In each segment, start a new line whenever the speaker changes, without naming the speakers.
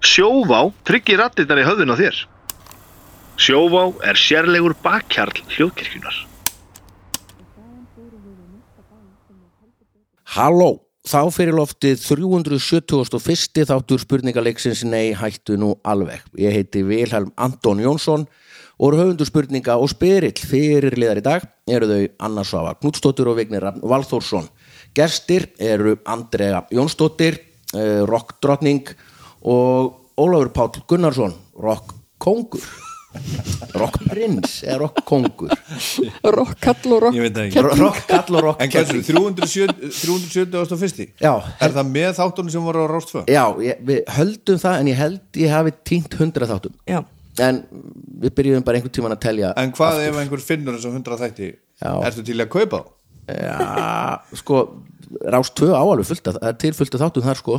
Sjóvá tryggir rattirnar í höfðun á þér. Sjóvá er sérlegur bakkjarl hljóðkirkjunar.
Halló, þá fyrir loftið 371. þáttur spurningaleiksins Nei, hættu nú alveg. Ég heiti Vilhelm Anton Jónsson og eru höfundur spurninga og spyrill fyrir liðar í dag eru þau Anna Svava Knútsdóttir og Vignir Rafn Valþórsson. Gestir eru Andrea Jónsdóttir, eh, rockdrottning og Ólafur Páll Gunnarsson, rockkongur. Rockprins eða rockkongur.
Rokkall og
Ég veit það ekki.
rokkall
Rockkall og
En hvað er
rockkelling.
371.
Já,
Er það með þáttunum sem voru á Rástfö?
Já, ég, við höldum það en ég held ég hafi týnt hundra þáttum
Já,
en við byrjuðum bara einhvern tíman að telja
En hvað ef einhver finnur þessu 100 þætti?
Já.
Ertu til að kaupa þá?
Já, sko rást tvö á alveg fullt að, það er til fullt að þáttum þar sko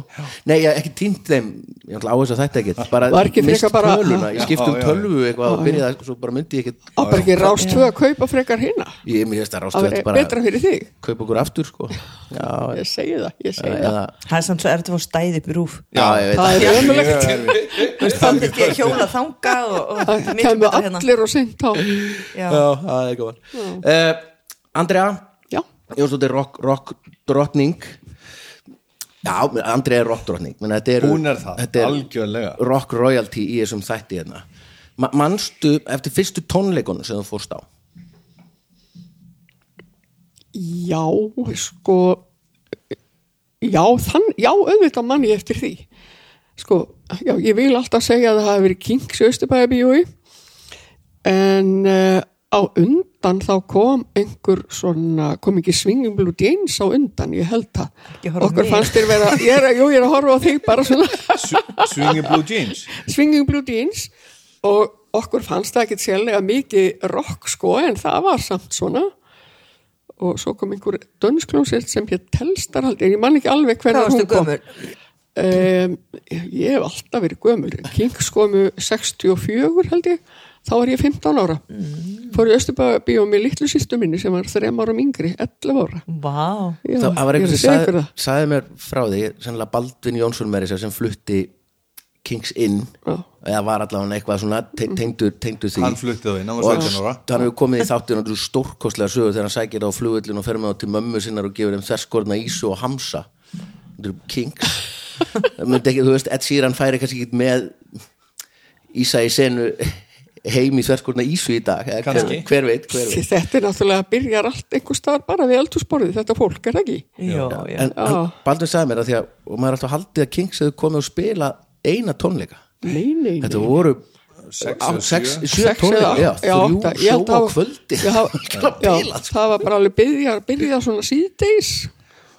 Nei, ég hef ekki týnt þeim, ég ætla á þess að þetta ekkert bara
Var ekki
mist
frekar bara-
töluna, ég skipti um
Já, já, já.
tölvu eitthvað og byrjaði að, svo bara myndi ég ekkert
á bara ekki rást tvö að kaupa frekar hérna
ég mér finnst að rást
Það
tvö
er
ætti bara
betra fyrir þig,
að kaupa okkur aftur sko Já,
ég segi það, ég segi
eða,
Það er samt svo erfitt að fá stæði upp í rúf
já, ég veit
það Það
að
er ömulegt,
Það er ekki að hjóla þangað og, og
það
miklu
kemur
betra hérna.
allir og sent á
Já.
Já, það er gaman uh, Andrea,
Já,
Jónsdóttir rock, rock drottning Já, men Andri er rock drottning menn þetta er,
Hún er það,
þetta er
algjörlega.
Rock royalty í þessum þætti hérna Ma- Manstu eftir fyrstu tónleikunum sem þú fórst á
já, sko Já, þann, já, auðvitað mann ég eftir því Sko, já, ég vil alltaf segja að það hafi verið Kings Östubæðabíjói en uh, á undan þá kom einhver svona, kom ekki Swinging Blue Janes á undan, ég held
Ekki
það
horfa á
Okkur
mig.
fannst þér vera, ég er, að- jú, ég er að horfa á þig bara svona
Swinging Blue Jeans?
Swinging Blue Jeans og okkur fannst það ekkit sérlega mikið rock sko en það var samt svona og svo kom einhver dönsklósilt sem hér telstarhaldi en ég man ekki alveg
Hvað
hvernig
varstu
hún kom
gömur?
um, ég hef alltaf verið gömul Kings komu 64 held ég þá var ég 15 ára
Mm.
fór í Östubabíó með litlu sýstu minni sem var 3 árum yngri, 11 ára
Vá
Já,
Það það var
ég er
einhver
að
sem
segja ykkur
sagði,
það.
sagði mér frá því sennilega Baldvin Jónsson meiri sem flutti Kings Inn
Já.
eða var allavega eitthvað svona te tengdur, tengdur því
Hann flutti þá inn, hann var
og
17 ára.
hann hefur komið í þáttinu og stórkostlega sögur þegar hann sækir á flugullin og fer með á til mömmu sinnar og gefur þeim þverskorna ísu og hamsa þetta eru kings Það myndi ekki, þú veist, Ed Sheeran færi kannski ekki með ísa í senu heim í þverskorna ísu í dag eða hver,
Kannski.
hver veit, hver veit
þetta er náttúrulega byrjar allt einhver staðar bara við eldhúsborðið, þetta fólk er það ekki
Já, já
en, en Baldur sagði mér að því að og maður er alltaf haldið að Kings hefur komið og spila eina tónleika
nei, nei, nei.
þetta voru
Sex
á-
eða
sex,
sjö.
sjö
Sex eða
tónleika já,
átta- já,
þrjú
átta. Ég
sjó á
held það var-
kvöldi
Já, já, það var bara alveg byrja, byrja svona síðdeis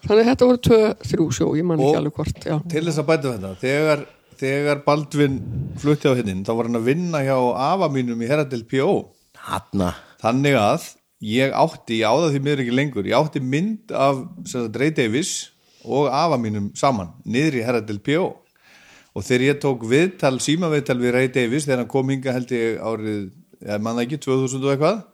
þannig að þetta voru tvö, þrjú sjó ég man
Og-
ekki alveg hvort já.
Til þess að bæta þetta, þegar, þegar Baldvin flutti á hinn, þá var hann að vinna hjá afa mínum í Herradel P.O.
hann
Þannig að ég átti, ég áða því miður ekki lengur, ég átti mynd af sem sagt, Ray Davis og afa mínum saman, niður í Herradel P.O. Og þegar ég tók viðtal, símaviðtal við Ray Davis, þegar hann kom hinga held ég árið, ég manna ekki, 2000 og eitthvað,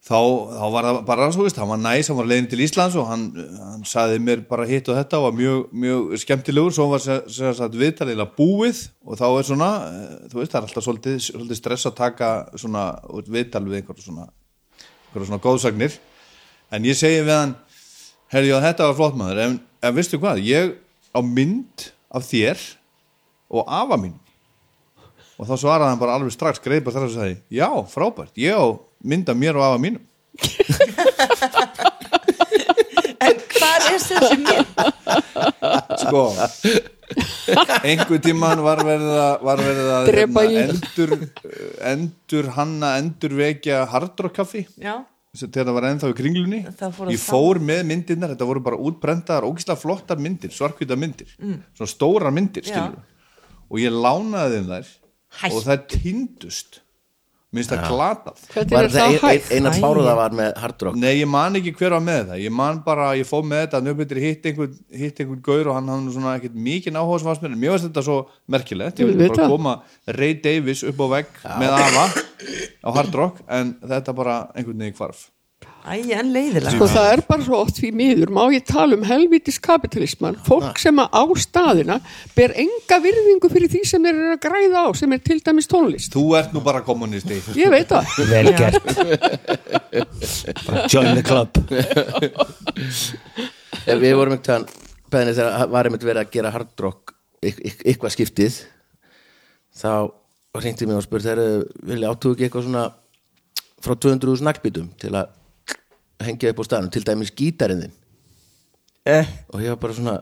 þá, þá var það bara svo veist, hann var næs, hann var leiðin til Íslands og hann, hann saði mér bara hitt og þetta og var mjög, mjög skemmtilegur svo var sem sem sagt viðtalilega búið og þá er svona, eh, þú veist, það er alltaf svolítið, svolítið stress að taka svona út viðtal við einhverja svona einhverja svona góðsagnir en ég segi við hann, herri, já, þetta var flott maður en, en veistu hvað, ég á mynd af þér og afa mín og þá svaraði hann bara alveg strax greið bara þar að sagði, já, frábært, ég á mynd af mér og afa mínum
En hvað er þessi mynd?
sko einhver tíman var verið að, var verið að hérna
Drepa í.
endur, endur hanna endur vekja hardrockkaffi
Já
þegar það var ennþá í kringlunni
Það fór að
ég fór með myndirnar, þetta voru bara útbrentaðar ógislega flottar myndir, svarkvita myndir svona stórar myndir
Mm. Já.
skilur og ég lánaði þeim þær
Hætt.
og það týndust minnst það glatað
hvernig
var
er
það
það
ein, ein,
hægt
einar
Æ.
báruða var með hardrock
Nei, ég man ekki hver var með það Ég man bara, ég fóð með þetta Nöfnbyttir hitt einhvern, hitt einhvern gaur og hann hafði nú svona ekkert mikið náhóðs fannst mér en mér finnst þetta svo merkilegt Ég
Ég
vildi
veit
bara
það.
koma Ray Davis upp á vegg með afa á Hard Rock en þetta bara einhvern veginn hvarf
Æ, en leiðilega
Sko það er bara svo oft því miður, má ég tala um helvitis kapitalisman, fólk sem að á staðina ber enga virðingu fyrir því sem þeir eru að græða á, sem er til dæmis tónlist.
Þú ert nú bara kommunisti
Ég veit það.
Vel gert Bara Join the club
Eh, Við vorum einhvern veginn beðinni þegar varum einhvern verið að gera hardrock eitthvað skiptið þá hringdi mér og spurði þegar vilja áttu ekki eitthvað svona frá 200 snakkbítum til að hengja upp á staðnum, til dæmis gítarinn þinn
Eh.
og ég var bara svona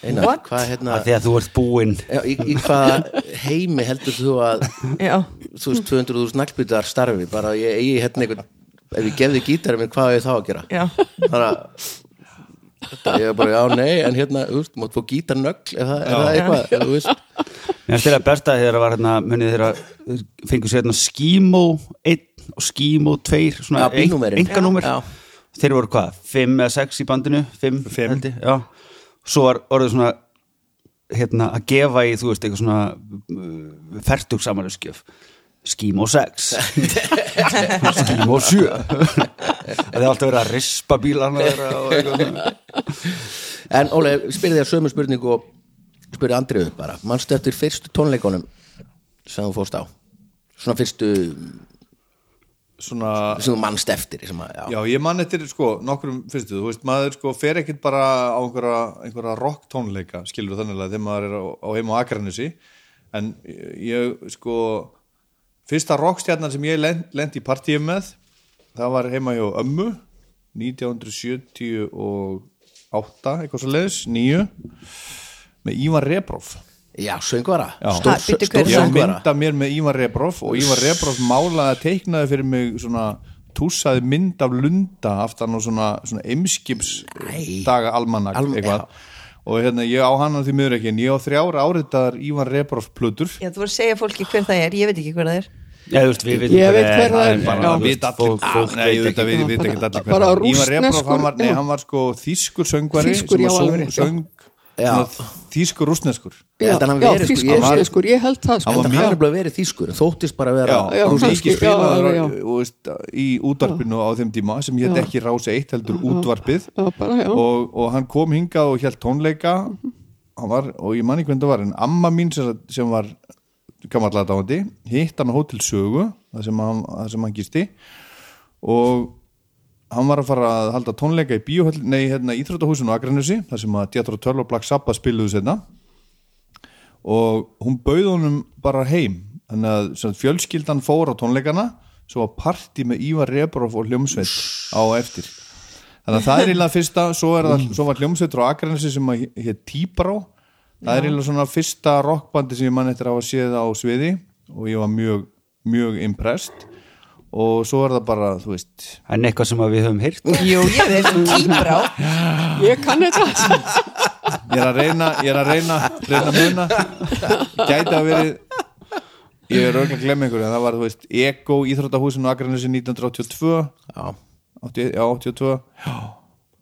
einar,
What?
hvað hérna
að því að þú ert búinn
já, í, í hvaða heimi heldur þú að
Já,
þú veist 200 snakkbítar starfi bara ég eigi hérna einhvern ef ég gefði gítarinn minn, hvað er þá að gera
já,
þannig að þetta- ég er bara, já, nei, en hérna, þú veist, mátt fór gítarnögl, er það, er það eitthvað, þú veist
Mér finnst þeirra besta þegar var hérna munið þeirra fengur sér hérna skímó 1 og skímó 2 svona
Já, bílnúmerin.
enganúmer
Já.
þeir voru hvað, 5 eða 6 í bandinu 5,
Fimm.
já svo var orðið svona hérna að gefa í, þú veist, eitthvað svona fertug samanlöskjöf skímó 6 skímó 7 það er alltaf verið að rispa bílarna þeirra og eitthvað svona.
en Óli, spyrði þér sömu spurningu og spyrði Andriðu bara, manstu eftir fyrstu tónleikunum sem þú fórst á svona fyrstu
Svona
sem þú manst eftir sem að, já.
Já, ég man eftir sko nokkrum fyrstu, þú veist, maður sko fer ekkit bara á einhverja, einhverja rock tónleika, skilur þannig að þegar maður er á, á heim á Akranessi, en ég sko, fyrsta rockstjarnan sem ég lent, lent í partíum með, það var heima hjá ömmu, 1978, eitthvað svo leiðis, nýju, með Ívar Rebróf.
já, söngvara,
Já.
stór,
Ha, bíddu,
stór
hver er
Ég
það?
söngvara
mynda mér með Ívar Rebroff og Ívar Rebroff málaði að teiknaði fyrir mig svona túsaði mynd af lunda aftan og svona, svona eimskips daga almanak
Alm-
eitthvað og hérna ég á hana því miður ekki en ég á þrjár áriðar Ívar Rebroff plötur
já, þú voru að segja fólki hver það er, ég veit ekki hver það er
Já, þú veist, við vitum
Ég
hver
veit
er,
hver það er,
en-
bara
en-
Já,
þú
veit
veist,
allir
fólk- fólk
Nei,
veit ekki.
auðvitað veit, veit ekki allir hver
Bara
hann er. Ívar Rebroff,
rússneskur,
hann var, nei,
já.
hann var sko þýskur söngvari
Þýskur,
sem
já,
að
alveg rétt, já.
söng,
Já.
söng þýskur rúsneskur
Ég
Já,
held að hann
já,
hafi verið, sko,
þýskur,
ég-
þýskur, ég held það
Ég
sko.
held að hann er bara verið þýskur þóttist bara að vera
Já,
já,
já,
kannski,
mikið
já,
spilaður
já, já.
og veist, í útvarpinu á þeim tíma sem hétt ekki Rási 1 heldur útvarpið
Já, bara, já.
og, og hann kom hingað og hélt tónleika hann var, og ég manni hvernig það var en amma mín sem, sem var kamalladávandi, hitt hann á hótel Sögu það sem hann, það sem hann gisti og hann var að fara að halda tónleika í bíóhöll nei, hérna Íþróttahúsinu á Akranusi þar sem að Djáttúr Törl og Black Sabbath spiluðu setna og hún bauð honum bara heim þannig að sem sagt, fjölskyldan fór á tónleikana svo var parti með Ívar Rebroff og Hljómsveit á eftir þannig að það er eiginlega fyrsta svo, er það, svo var Hljómsveit á Akranesi sem að hétt Tíbrá það er eiginlega svona fyrsta rockbandi sem ég mann eftir að hafa séð á sviði og ég var mjög, mjög impressed og svo er það bara, þú veist
En eitthvað sem að við höfum heyrt
Jú, ég veit, tíbrá
Ég kann þetta.
ég er að reyna ég er að reyna, reyna að muna gæti að verið ég er auðvitað að glemma einhverju en það var, þú veist, Ego Íþróttahúsinu á Akranesi 1982
já.
80, já, 82 já.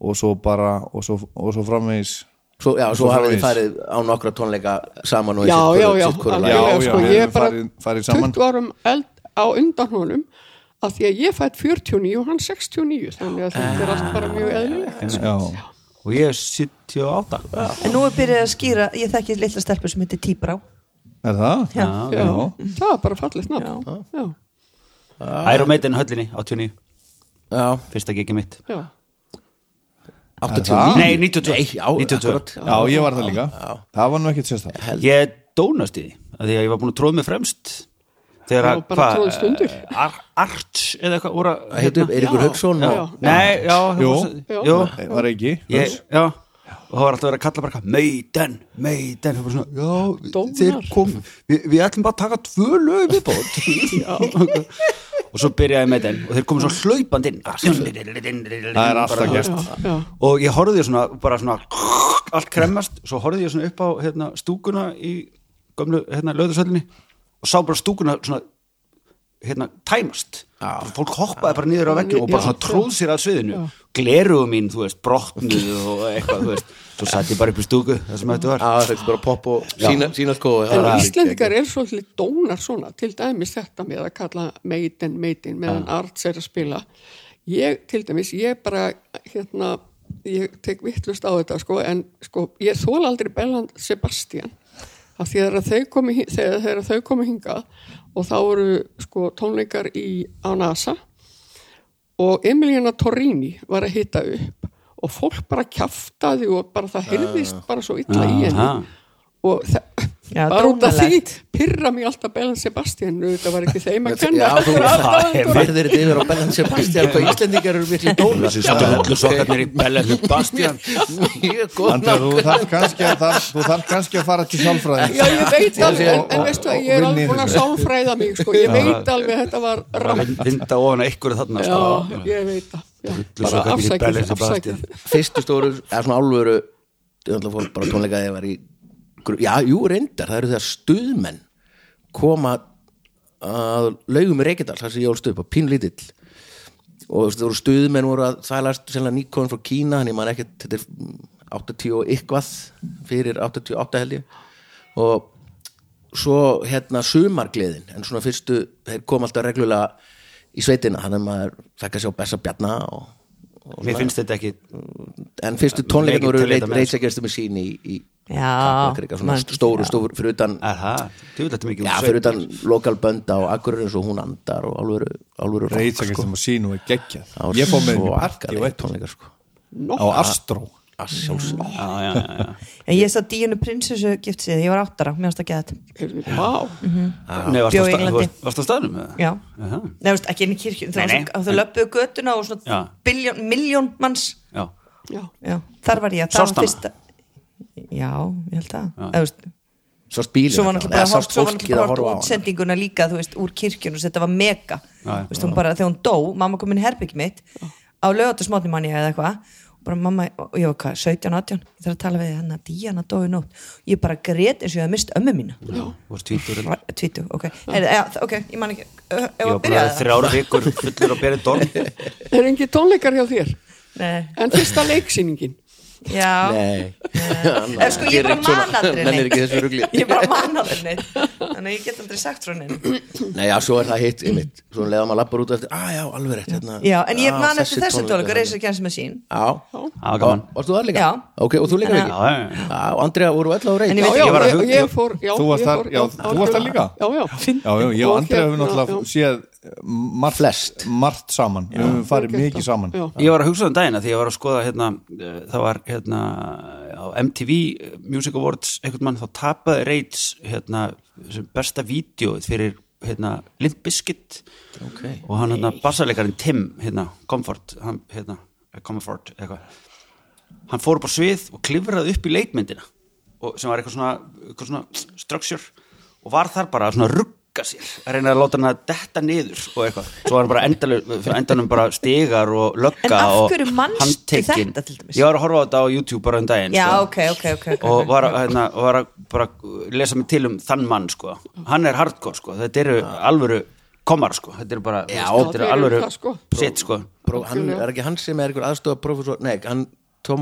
og svo bara, og svo, og svo framvegis
Svo, já, svo
Svo
hafið þið
framvegis.
farið á nokkra tónleika saman og
Já,
sitt hvoru-
já, já,
sitt hvoru lagi.
já,
algjörlega,
já,
sko, ég
við
er
erum
bara
farin- farin saman.
20 árum eld á undan honum að því að ég fætt 49 og hann 69 þannig að þetta er allt bara mjög eðlilegt
Ah, já,
og ég er 78
En nú er byrjað að skýra, ég þekki litla stelpu sem heitir tíbrá
er það?
Já.
Já, það var bara fallegt nafn Já, Ah.
Iron Maiden höllinni, 89
já,
fyrsta gigi mitt
já, Ah.
89
Nei, 92.
Nei, já,
92.
akkurat.
já, ég var það líka það var nú ekkert sérstæð
ég dónast í því af því að ég var búin að tróða mig fremst þegar
Já,
að
bara tróðst undir.
eh, Ar- Arch eða eitthvað voru að- hérna?
Það heitir Eiríkur Hauksson
Hérna. já,
og
já.
Nei, já,
Jú.
já. Jú.
var ekki
Ég, já og það var alltaf verið að kalla bara eitthvað meiden, meiden það var svona, já,
Dónar.
þeir kom við, við ætlum bara að taka tvö lög við bótt og svo byrjaði meiden og þeir komu svo hlaupandi inn það
það er alltaf gert
já,
og ég horfði svona bara svona allt kremmast, svo horfði ég svona upp á hérna, stúkuna í gömlu hérna, löðursöllinni og sá bara stúkuna svona hérna, tæmast já. fólk hoppaði bara niður á veggjum og bara
Já,
svona tróð sér að sviðinu gleruðu mín, þú veist, brotnuðu og eitthvað, þú veist, svo satt ég bara upp í stúku það sem þetta var
Já, það er bara popp og sína, sína sko
En
það er-
Íslendingar er svolítið dónar svona til dæmis þetta með að kalla meitin, meitin meðan arts er að spila ég til dæmis, ég bara hérna, ég tek vittlust á þetta sko, en sko, ég þóla aldrei Belland Sebastian af því að þegar þau komu, hi- þegar, þegar þau komu hingað og þá voru sko tónleikar í, á NASA og Emiliana Torrini var að hitta upp og fólk bara kjaftaði og bara það heyrðist bara svo illa í henni
Aha.
og það
Já,
bara út af því
dónalegt.
pyrra mig alltaf Bellan Sebastian þetta var ekki þeim að kenna
Já, þú
það er-
verður þetta yfir á Bellan Sebastian hvað Íslendingar eru miklu dóla
Öllu sokkarnir í bellu Bastian
Mjög góð
Andra, þú þarf kannski að, þar, þú þarf kannski að fara til sjálfræði
Já, ég veit alveg, en,
og-
en
og-
veistu að
og
ég er
vinni
alveg búin að
þessu.
sámfræða mig, sko, ég veit alveg að þetta var rangt.
Vinda ofan að ykkur þarna
Já,
sko.
ég veit það. Já,
Rullu
bara
sokkarnir í
afsækið,
Berlín sem
afsækið.
fyrstu stóru, eða svona álveru þau ætla fór bara á tónleika þegar ég var í gru- já, jú, reyndar, það eru þegar stuðmenn koma að laugum í Reykjadal, þar sem ég ólst upp á pínlítill og þú veist, það voru stuðmenn voru að þælast sennilega Nikon frá Kína þannig maður ekkert, þetta er mm, 80 og ykkvað fyrir 88 held ég og svo hérna sumargleðin en svona fyrstu, þeir kom alltaf reglulega í sveitina, þannig að maður fækka sér á Bessa Bjarna og, og
Mér finnst þetta ekki
en fyrstu tónleikarnir
Leikir
voru
til þetta með,
Rage Against the Machine í, í
Já.
Kaplakrika, svona
Man-
stóru,
já.
stóru fyrir utan,
Ah,
Aha, djúlega mikið um
já, fyrir utan lokal bönda og akkurur eins og hún andar og alvöru, alvöru rock,
reytsakir
sko.
sem að sínu er geggjað
Það var
ég fór með
svo
henni í partí
akkalegir
og eitt
tónleikar sko
á Astró
að sjálfsög
Já, já, já, já.
En ég satt Díunu prinsessu gift síðan, ég var áttara, mér varst að geða þetta.
Vá,
Nei, varstu á
Bjó í
sta-
Englandi.
þú varst- varstu á staðnum? eða?
Já.
Aha,
Nei, veist, ekki inn í kirkju,
Nei,
það var
nei.
svo, þau löpuðu götuna og svona
Já.
biljón, miljón manns.
já.
já,
Já, þar var ég. það
Sást
var
hana?
fyrsta- Já, ég held að. Eða, veist,
svo spílin
svo var náttúrulega bara hort,
sást
svo var
fólkið
náttúrulega
að
hort
horfa á hann
útsendinguna líka þú veist, úr kirkjunum, þetta var mega
Já, já.
Þú veist, hún bara, þegar hún dó, mamma kom inn í herbyggi mitt á lögatasmótni manni eða eitthvað og bara mamma, og ég var hvað, 17, 18 ég þarf að tala við hann að Díana dói nótt ég bara grét eins og ég hafði mist ömmu mína
já. Varst tvítur
Ra- tvítu, ok, Heyrðu, já, þ- ok, ég man ekki Ö, ef
Ég
að
var búin
byrja
að
það?
þrjára vikur fullur á berið dorm
það er engin tónleikar hjá þér,
Nei,
en fyrsta leiksýningin.
já,
nei,
Ef sko, ég er bara manaldri
Menn er ekki þessu rugli
ég er bara manaldri neitt þannig að ég get aldrei sagt frá henni
Nei, já, svo er það hitt einmitt Svo leða maður lappar út eftir, að já, alveg rétt hérna,
já, en ég
"Ah,
man
þessi
eftir þessum
tónleikar hérna.
tónleika reisir ekki hans með sín
Já,
Já, gaman
Og- Varst þú þar líka?
Já.
Ok, og þú líka
Þannig
ekki?
Já, já, já.
Já, og Andrea voru öll á reynd
En
Já,
veit
já,
ekki,
ég var að
ég,
hugsa-
ég fór, já,
Þú varst
ég
þar-
fór-
já, þú varst þar líka?
Já, já. hérna,
já, já, ég og Andrei hefur náttúrulega
já.
séð margt,
Flest.
margt saman við höfum farið mikið saman
Já.
Ég var að hugsa um daginn að því ég var að skoða hérna, eh, það var hérna á MTV Music Awards einhvern mann þá tapaði Reitz hérna, sem besta vídjóð fyrir hérna, Limp Bizkit okay. og hann hérna, bassarleikarinn Tim hérna, Comfort hann, hérna, eh, Comfort eitthvað hann fór upp á svið og klifraði upp í leikmyndina og, sem var eitthvað svona, eitthvað svona structure og var þar bara að svona rugga sér að reyna að láta hann að detta niður og eitthvað, svo var hann bara endalur, endanum bara stegar og
En
lögga
af
og
hverju manstu
handtekin
þetta til dæmis?
ég var að horfa á þetta á YouTube bara um daginn
Já,
sko.
ok, ok, ok, ok.
og var, að, hérna, og var að bara lesa mig til um þann mann sko. hann er hardcore, sko. þetta eru alvöru komar, sko. þetta eru bara
Já,
þetta
þeir
eru
eru
alvöru
það, sko.
sitt sko.
Pró, hann, er ekki hann sem er einhver aðstofa professor nei, hann Tom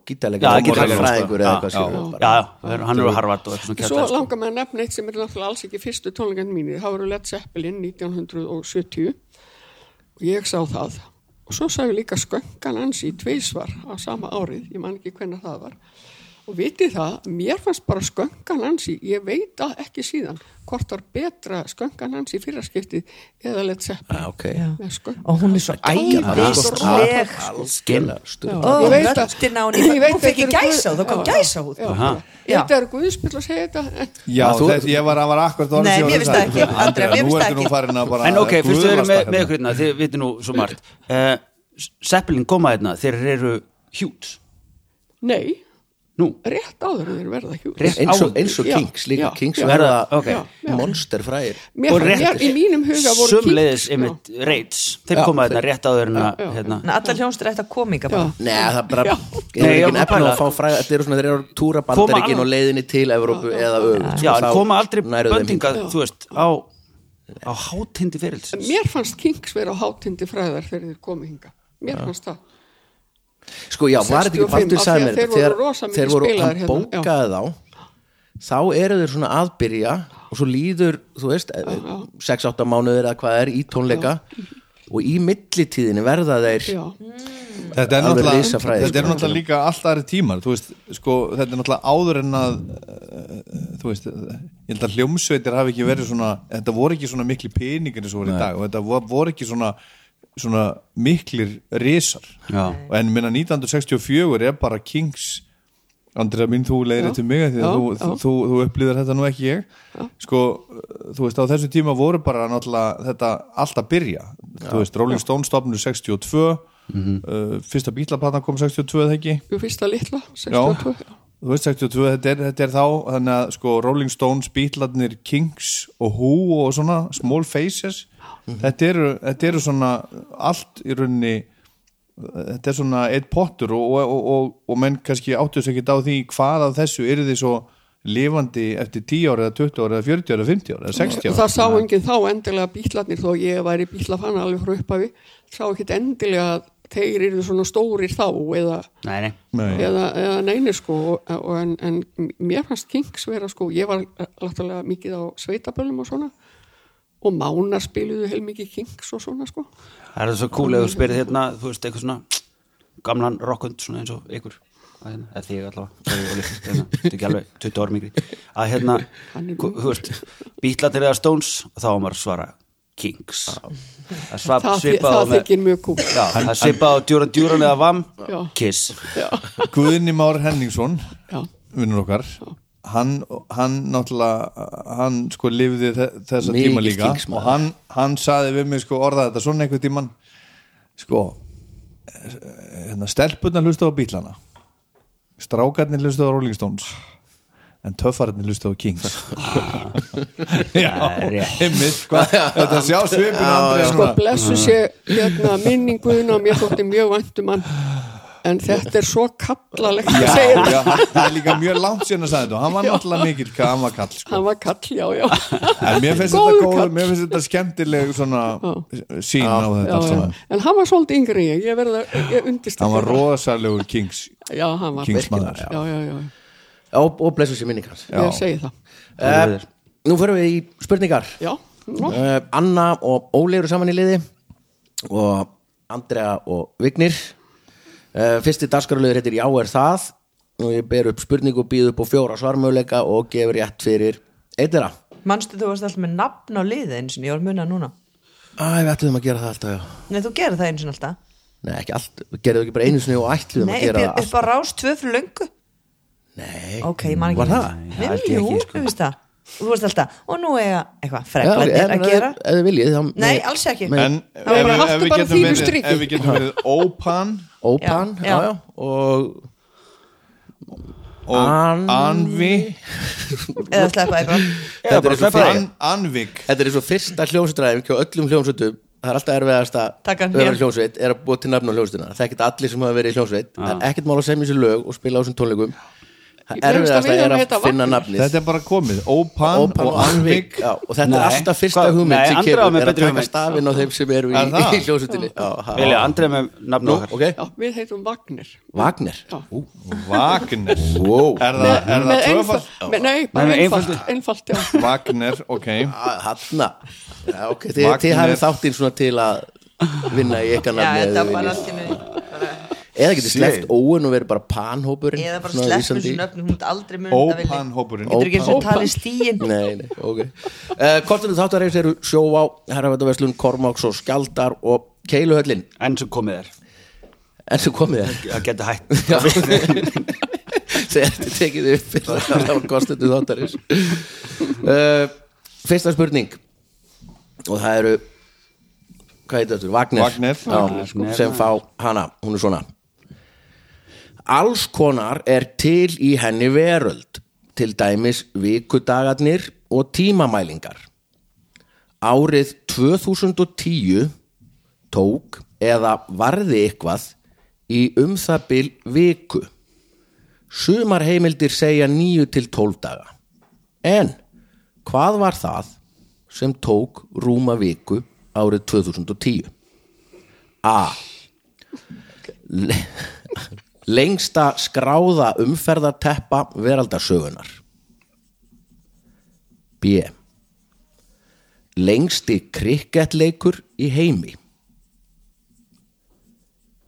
Já,
gítalega
gítarleikari, sko.
fræðingur eða
Já,
eitthvað
já,
sér
já, já, hann eru að harfart og eitthvað svona
Svo
kjaftaði, sko.
langar maður að nefna eitt sem er náttúrulega alls ekki fyrstu tónleikarnir mínir. Það voru Led Zeppelin 1970 og ég sá það. Og svo sá ég líka sköngan hans í tvísvar á sama árið, ég man ekki hvenna það var. Og vitið það, mér fannst bara sköngan hans í, ég veit það ekki síðan, hvort var betra sköngan hans í fyrraskiptið eða Led Zeppelin.
Ah, ok.
Já.
Með skönk.
og hún er svo æðisleg
Algjörlega, sturlað.
Ó,
Ég veit það.
röddin á henni,
Ég veit
hún fekk í
þetta eru
gæsa og þá
guð-
kom
já,
gæsa hút
já.
Aha.
Já.
Þetta er guðspill að segja þetta en
já
Að þú-
þess, ég var, var akkurat orðið
Nei,
sem ég var
mér
að
finnst
segja.
það ekki, Andrea, mér
nú
finnst það
ertu nú
ekki.
farin að bara
En ok, fyrst þau eru
guðlast
með,
hérna.
með ykkur hérna, þið viti nú svo margt uh, Seppelin koma hérna, þeir eru hjút,
nei,
nú
rétt áður en þeir verða hjúl.
Rétt
eins og,
áður.
eins og
Já,
Kings líka
já,
Kings
já.
verða
Ok.
okay. monsterfræðir
Mér
Og
fann, mér,
réttir.
í mínum huga voru sko.
Sumleiðis
Kings-
einmitt reits Þeir
Já,
koma
þeir-
hérna rétt áður en að
já.
hérna.
En allar hljónstur ætti að kominga
Já,
bara
Nei, það er bara,
Já.
ég
Nei, ég
er ekki
var að
nefn að
pæla.
fá fræða Þetta eru svona, þeir eru að túra bandaríkin
Koma-
og leiðinni til Evrópu eða öfugt sko,
Já, en
þá
koma aldrei
nærðu þeim
böndinga,
hingað.
þú veist á, á hátindi ferilsins
mér fannst Kings vera á hátindi fræðar þegar þeir komu hinga mér fannst það
Sko, já, var þetta ekki
65,
Baldur
af því
sagði
að
mér
þeir
þetta,
voru
þegar-
rosa mikið
Þeir voru,
spilaðir
hann
hérna, já.
bókaði þá Þá eru þeir svona aðbyrja Og svo líður, þú veist 6-8 mánuðir eða hvað er í tónleika og í millitíðinni verða þeir
já,
þetta er
Alveg
náttúrulega,
risafræði,
þetta er
sko.
náttúrulega líka allt aðri tímar þú veist, sko, þetta er náttúrulega áður en að uh, þú veist, ég held að hljómsveitir hafi ekki verið svona þetta voru ekki svona mikli peningar eins og voru í dag og þetta vo- voru ekki svona svona miklir risar
Já.
en minna 1964 er bara Kings Andrea mín, þú leiðir til mig af því að
Já,
þú,
já.
þú, þú, þú upplýðar þetta nú ekki ég sko, þú veist, á þessu tíma voru bara náttúrulega þetta allt að byrja þú veist, Rolling Stone stopnur 62 uh, fyrsta bílaplatan kom 62 eða ekki
jú, Sko, fyrsta litla
Já.
62, já.
þú veist 62, þetta er, þetta er þá þannig að sko Rolling Stones, Beatlarnir Kings og Who og svona Small Faces, þetta eru þetta eru svona allt í rauninni þetta er svona eitt pottur og, og, og, og, og menn kannski áttu þess ekkert á því hvað af þessu eru þið svo lifandi eftir 10 ára eða 20 ára eða 40 ára eða 50 ára eða 60 ára
það sá enginn þá endilega bílarnir þó ég væri bílafann alveg frá upphafi sá ekkit endilega að þeir eru svona stórir þá eða,
Nei, nei
Nei.
eða, eða neini sko og, og en, en mér fannst Kings vera sko, ég var láttulega mikið á sveitaböllum og svona og mánar spiluðu heilmikið Kings og svona sko
Það er svo cool ef þú spyrir hérna, þú veist, eitthvað svona gamlan rockund, svona eins og ykkur að hérna, eða þig allavega það er ólíkt, hérna, þetta er ekki alveg 20 árum yngri að hérna,
Hann er
hú- þú veist Beatlatir eða Stones, þá var maður að svara Kings það svap,
það, þy-
svipað á
það
með-
þykir mjög kúl
Já, það svipað á djúran djúran eða vam
Já.
Kiss
já,
Guðni Már Henningsson
já,
vinnur okkar hann, hann náttúrulega hann sko lifði þe- þessa
Mikill
tíma líka
Kings-maður.
og hann, hann saði við mig sko orða þetta svona einhvern tíman sko eh, hérna, stelpunna hlusta á bílana strákarnir hlusta á Rolling Stones en töffarnir hlusta á Kings já,
rétt.
einmitt sko, þetta sjá svipin Andrés
sko blessu sé hérna minninguðin og mér þótti mjög vandum hann en þetta er svo kallalegt að
Já,
segja
já, það er líka mjög langt síðan að sagði þetta og hann var náttúrulega mikill kamakall sko.
hann var kall, já, já
En mér finnst
Góður
þetta góð,
kall.
mér finnst þetta skemmtileg svona sín á þetta
já,
allt
já.
saman.
en hann var svolítið yngri en ég, ég verða, ég undist
Hann var rosalegur Kings
já, hann var
Kings
virkilega.
maður.
já, já, já,
og, og blessu sér minning hans
ég segi það
uh,
Eh,
Nú förum við í spurningar
já, nú,
uh, Anna og Óli eru saman í liði og Andrea og Vignir uh, fyrsti dagskaralöður heitir Já er það og ég ber upp spurningu, býð upp á fjóra svarmöðleika og gefur rétt fyrir eitt þeirra
manstu þú varst alltaf með nafn á liðið eins og ég var að muna núna
Æ, við ætluðum að gera það alltaf, já
Nei, þú gerir það eins og alltaf
Nei, ekki allt, við gerðum ekki bara einu sinni og ætluðum
Nei,
að
upp,
gera
upp á rás tvö fyrir löngu
Nei,
Ok, ég man ekki
Var það?
Nei,
það held ég
Jú,
ekki,
þú veist það Og Þú veist alltaf, og nú eiga eitthvað
sko. Já,
freklandir
en eh,
að gera
ef- ef þið viljið þá
Nei, alls ekki
Nei.
En
var
ef,
bara-
við- ef,
haltu
við
bara
getum
þínu
verið,
striki.
ef við getum verið Opan
Ópan, já,
Já, já.
já, og
og
An-
Anvi
Eða sleppa eitthvað
Þetta er
bara
eins og
sleppa því.
fyrra-
An- Anvik
Þetta er eins og fyrsta hljómsveitræðing hjá öllum hljómsveitum það er alltaf erfiðast
Taka
að
hnéð.
vera hljómsveit er að búa til nafn á hljómsveitina það er ekkert allir sem hafa verið í hljómsveit það er ekkert mál að semja sér lög og spila á þessum tónleikum
Ég
það
finnst að
erfiðast
við
er
höfum
að
heitað
finna
Vagn.
nafnið
Þetta er bara komið, Opan
Ópan
og Anvik
já, og þetta er
Nei.
alltaf fyrsta
Hvað-
hugmynd
Nei,
sem
Andra var
kemur
með
er að
betri
taka
hugmynd.
stafinn á þeim sem eru í,
Er það?
í hljómsveitinni Já, ha-
Vilja, Andrei með nafn
Nú,
okkar
ok,
já, við heitum Wagner
Wagner
Já.
Wagner
wow.
Er það, er það tvöfald?
einfald með, nei, bara
Nei, nei,
einfald, einfald, já
Wagner, ok
Hanna já, okay. þið, þið
Wagner.
hafið þáttinn svona til að vinna í ykkar
Já,
nafni ef
þetta
þið
var
viljið.
allt í nöðu
eða getið sleppt óun og verið bara panhópurinn
Eða bara
svona vísandi
sleppum
í-
þessu nöfnum, hún myndi aldrei muna það vilja
Opan hópurinn
Getur ekki eins og
Ópan.
talið stíin
Nei, nei, ok uh, Kortinu þáttarreifs eru sjóvá Herrafættaverslun, Kormáks og Skjaldar og Keiluhöllin,
enn sem komið er,
en svo komið þér
það getur hætt
Já. Þegar þetta er tekið upp fyrir að það var kostinu þáttarins uh, Fyrsta spurning og það eru hvað heitir þetta? Wagner,
Wagner.
Já, sko, sem fá hana, hún er svona Alls konar er til í henni veröld til dæmis vikudagarnir og tímamælingar Árið 2010 tók eða varði eitthvað í um það bil viku. Sumar heimildir segja 9 til 12 daga. En hvað var það sem tók rúma viku árið 2010? A. Le- Lengsta skráða umferðarteppa veraldasögunar. B. Lengsti krikketleikur í heimi.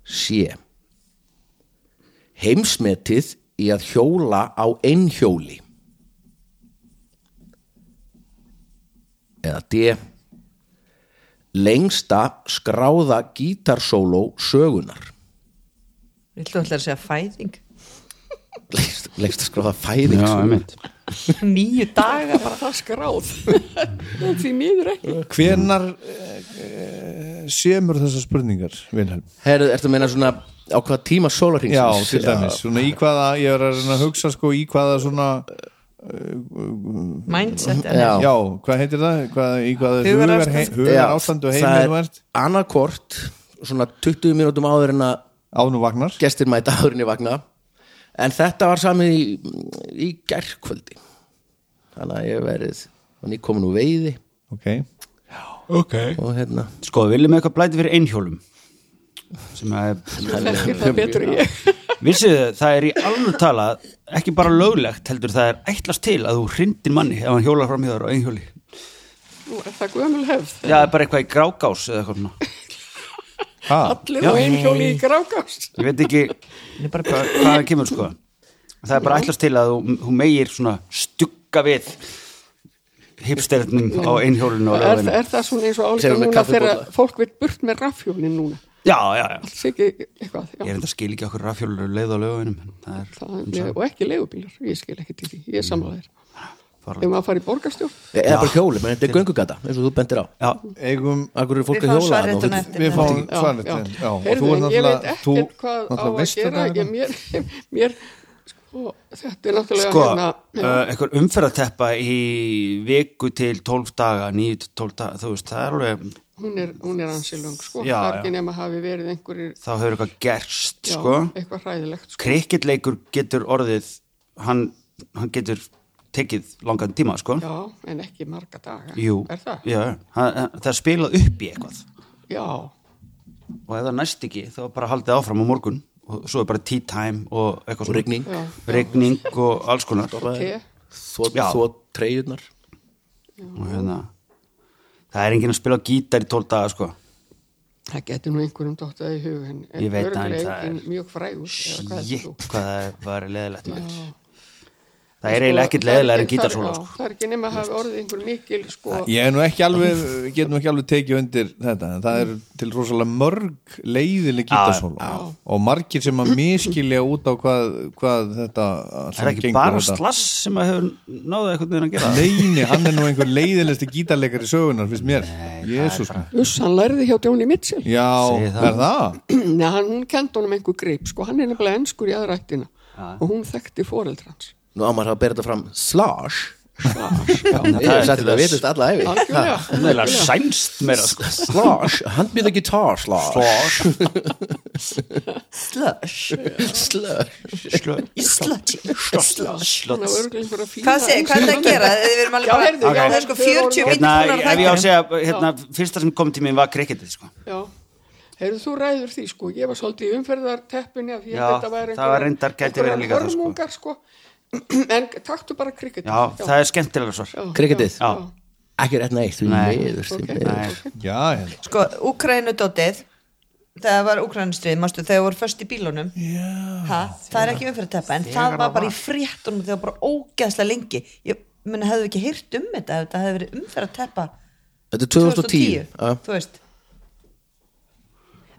sé heimsmetið í að hjóla á einhjóli eða D lengsta skráða gítarsóló sögunar
Viltu ætla að segja fæðing?
lengsta, lengsta skráða fæðing sko. sögunar.
Nýju daga bara.
bara það skráð því miður ekki
Hvenar eh, semur þessar spurningar, Vilhelm?
Herðu, ertu að meina svona á hvaða tíma
Já,
sólarhingsins
til dæmis, svona í hvaða ég er að reyna að hugsa sko í hvaða svona
Mindset.
Já.
Já, hvað heitir það? Hvað, í hvaða hugar,
Hugarástand.
hei, hugar ástandu heimir þú ert?
annarkort svona 20 mínútum áður en að
Ánum vagnar
gestir mæta áðurinn í vagna en þetta var samið í, í gærkvöldi þannig að ég hef verið og ný komin úr veiði
Ok,
og hérna
Sko, við viljum eitthvað blæti fyrir einhjólum sem að
ekki það betur en ég
Vissið þið, það er í alveg tala ekki bara löglegt, heldur það er ætlast til að þú hrindir manni ef hann hjólar fram hjá þér á einhjóli
Nú er það gömul hefð
Já, það er bara eitthvað í grákás eða eitthvað svona
ha,
allir
Já.
á einhjóli í grákast
Ég veit ekki hva- hvað það kemur sko Það er bara ætlast til að þú, þú meir svona stugga við hipsternum á einhjólinu og
er,
lögðinu
er það svona eins og
Segðu
álíka
mér
núna þegar
kaffibolla.
fólk vil burt með rafhjólin núna
Já, já, já
alls ekki eitthvað
Ég
já.
er enda að skil ekki okkur rafhjólur eru leið á lögunum en það er
Það, er- og ekki leigubílar, ég skil ekki til því ég er
Mm.
samlaðir, ef
farlega
maður fari í borgarstjórn
eða bara hjóli, menn þetta er göngugata eins og þú bendir á
Já,
eigum
akkur eru fólk
Við
að
fáum
hjóla þarna og
svarréttuna
þetta-
eftir.
Við fáum
Já,
svarnið
já.
til Já, og
Heyrðu,
þú ert
ég veit
náttúrulega þú
ekkert hvað á
náttúrulega
að
veist
gera
þetta hérna.
ég, mér, mér sko, þetta er náttúrulega
sko,
hérna,
eh,
uh, einhver umferðateppa í viku til 12 daga 9 til 12 daga, þú veist, það er alveg
hún, er, hún er ansi lung sko,
Já,
það er ekki
já.
nema hafi verið einhverjir
þá hefur eitthvað gerst,
já,
sko
eitthvað hræðilegt sko.
krikkitleikur getur orðið hann, hann getur tekið langan tíma, sko
já, en ekki marga daga
Jú,
er það?
já, hann, hann- það er spilað upp í eitthvað
já,
og ef það næst ekki, þá er bara haldið áfram á morgun og svo er bara tea time og eitthvað
og rigning,
já,
rigning og alls konar
te,
þvot,
Já.
þvot treyjurnar
og hérna það er enginn að spila á gítar í 12 daga, sko
það getur nú einhverjum dottað í hug en, en
Ég veit það, en
örugglega
það er-
enginn mjög frægur eða hvað heldur
Shit,
þú?
hvað það var leðilegt maður
Já.
Það er
Sko,
eiginlega ekkert
það er
leðilega en
ekki- það er-
gítarsóla
já,
sko.
það er ekki nema að hafi orðið einhver mikil sko,
Ég er nú ekki alveg, við getum ekki alveg tekið undir þetta, en það er til rosalega mörg leiðileg gítarsóla og margir sem að miskilja út á hvað, hvað þetta
Það er ekki bara slass sem að hefur náðu eitthvað með að gera það.
Leini, hann er nú einhver leiðilegsti gítarleikari sögunar, finnst mér Jésús
Uss, hann læriði hjá Djóni Mitchell
Já,
Segir það.
er það?
Nei, hann, hún kendi honum einhver greip sko, hann er nefnilega enskur í aðrættina og hún þekkti foreldrans
nú á maður að bera þetta fram slash
Slash, já,
ég hef sagt þetta að vitast alla æfi
algjörlega,
Það er eiginlega
algjörlega.
sænst meira sko.
slash, hand me the guitar slash
Slash.
Slush.
slash
Slush. Slush.
Hann á örugglega einhverja fína
Hvað segir, hvað er það að
ensku-
gera? Við erum alveg
Já,
bara,
heyrðu, já,
það er sko
þau eru orðin-
40
Hérna,
vindunar
ef ég á að segja hérna, fyrsta sem kom til mér var krikketið sko.
Já, heyrðu þú ræður því sko ég var svolítið í umferðarteppinni af því að
Já,
þetta var
það var reyndar gæti verið líka það, sko.
hörmungar sko, en taktu bara krikket
Já, það er skemmtilega svar
Cricketið?
Já.
ekki rétt neitt, þú
Nei.
meður því
Ok.
miður.
Já, hérna
Sko, Ukrænudótið Það var Ukrænustrið, mástu, þegar voru föst í bílunum ha, Það er ekki umfyrirteppa En það var bara í fréttunum þegar bara ógeðslega lengi Ég meni, hefðu ekki heyrt um þetta ef Þetta hefði verið umfyrirteppa
þetta er 2010 já.
Þú veist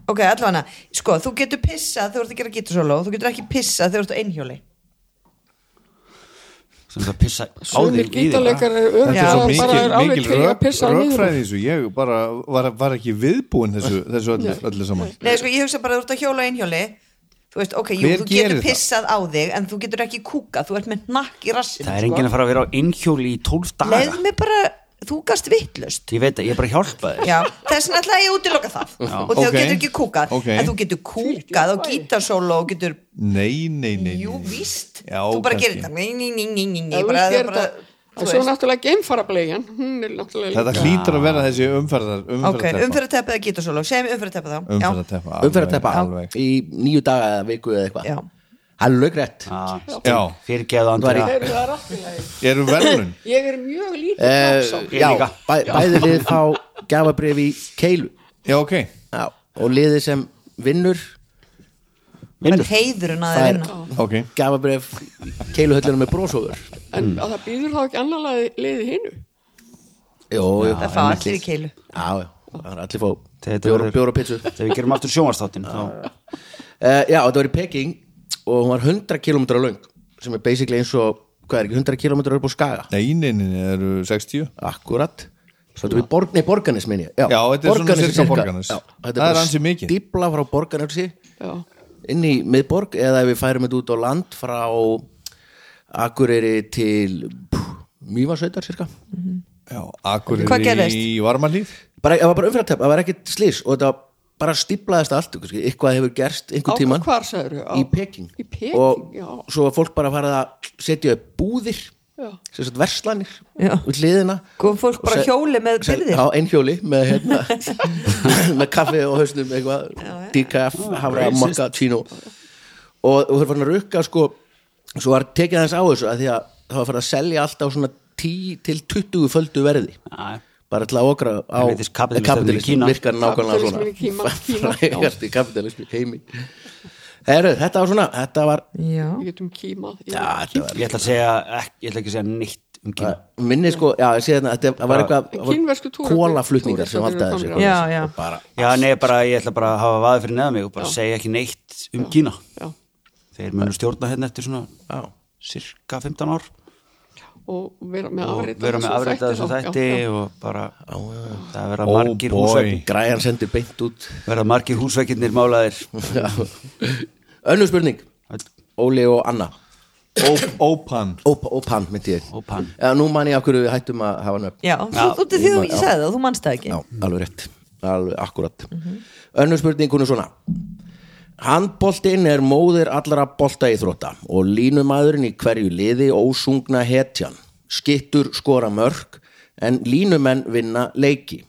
Ok, allavega, sko, þú getur pissað þegar þú ert að gera gítarsólu og þú getur ekki pissað þegar þú ert á einhjóli
sem það pissa á
Sumir
þig í þig
gítarleikar
bara.
eru
Þetta er svo
örgulega bara
mikil,
er alveg
mikil
til að
rök,
pissa á niður
rökfræði í þessu Ég bara var, var ekki viðbúin þessu, þessu öllu, öllu saman
Nei, sko, ég hugsa bara að þú ert að hjóla á einhjóli Þú veist, ok, jú,
Hver
þú getur
gerir það?
pissað á þig en þú getur ekki kúkað, þú ert með nakk í rassin
Það er enginn að fara að vera á einhjóli í 12 daga
Leð mig bara, þú gast vittlust
Ég veit að ég er bara að hjálpa þér
Já, þess vegna ætlaði ég að útiloka það og þegar
Ok.
þú getur ekki kúkað
Ok.
en þú getur kúkað og gítarsóla og getur,
Nei, nei, nei, nei.
jú, víst
Já,
þú bara
kannski.
gerir þetta Ný, ný, ný, ný, ný, ný,
Ef þú
bara, það
gerir
bara,
þetta-
þú
en svo
veist.
náttúrulega geimfarableian hún er náttúrulega
Þetta
líka-
hlýtur að vera þessi umferðar
Ok,
umferðarteppa
umferðarteppa eða gítarsóla segja mér umferðarteppa þá Já.
Umferðarteppa, alveg,
umferðarteppa
alveg.
í nýju daga eða viku eða
Já.
eitthvað hann lög rétt
Já,
Fyrir geðu andra
Heyrðu, það er allt í lagi.
eru verðlun
ég er mjög lítið
Eh,
uh,
uh,
já,
líka.
bæ, bæði lið fá gafabrif í keilu
Já, ok
já, og liðið sem vinnur
Það er heiðurinn að
Það
hérna. það
er-
vinna
ok,
gafabref keiluhöllinu með brósóður
en
mm.
að það býður þá ekki annar leiði hinnu
Jó, jó,
Það fá allir í keilu
Já, já, það er allir fá
Þetta
bjóra,
verður-
bjóra pitsu
Þegar við gerum aftur sjónvastáttin þá
Uh, já, þetta var í Peking og hún var 100 km löng sem er basically eins og, hvað er ekki, 100 km upp á skaga
neinin eru 60
Akkurat Svolítið við borg, nei, Borganes minn ég Já,
Já, þetta er svona
Borgarnes
sirka
sirka-
Borgarnes.
Já, þetta
Það er
bara
ansi mikið.
Stípla frá Borganesi
Já,
inn í miðborg eða ef við færum þetta út á land frá Akureyri til Mývasveitar cirka
já, akkur
Hvað gerðist?
í varmalíð
bara, Það var bara umfyrirtepp, það var ekkit slís og þetta var bara stíplaðist allt kannski, eitthvað hefur gerst
á
einhver tíman
hvar sagður
í Peking
Í Peking,
og
já.
svo var fólk bara að fara að setja upp búðir
Já.
sem sagt verslanir
Já.
út liðina
Kom fólk bara
Og se-
hjóli með
se-
byrðir?
Já, einn hjóli með, hérna, með kaffi og hausnum eitthvað, decaf, hafra, mokka, chino og þú fyrir að rukka sko, svo var tekið aðeins á þessu að því að það var fyrir að selja allt á svona 10 til 20 földu verði
Já,
bara til að okra á
Það veitist kapitalisminn í Kína.
virkar nákvæmlega svona
Kapitalisminn í Kína, Kína, já.
frægasti kapitalismi heimi Heru, þetta var svona, þetta var
Já
Við getum kímað í-
Já, þetta var
Ég ætla að segja, ekki, ég ætla ekki að segja neitt um Kína
minni sko, já, ég sé þetta þetta- það var eitthvað það voru
Kínversku túristar-
kólaflutningar sem
túristarnir
valdaði
eru
þessu
komnir
Já, já
Og bara,
Já, nei, bara ég ætla bara að hafa vaðið fyrir neða mig og bara segja ekki neitt um Kína
Já,
Þeir munu stjórna hérna eftir svona
já,
cirka 15 ár
og vera með
og
afrit
vera með afrið þessu þætti og bara það verða
Oh
margir
boy.
húsveikir
græjan sendir beint út
verða margir húsveikirnir málaðir
Já. önnur spurning Óli og Anna
Ó- ópan
Óp- Ópan, myndi ég
Ópan.
Já, nú man ég af hverju við hættum að hafa nöfn
Já, þú þú til því þú ég sagði það og þú manst það ekki
Já, alveg rétt, alveg akkurat Önnur spurning hún er svona Handboltinn er móðir allra bolta í þrótta og línumaðurinn í hverju liði ósungna hetjan skittur skora mörg en línumenn vinna leiki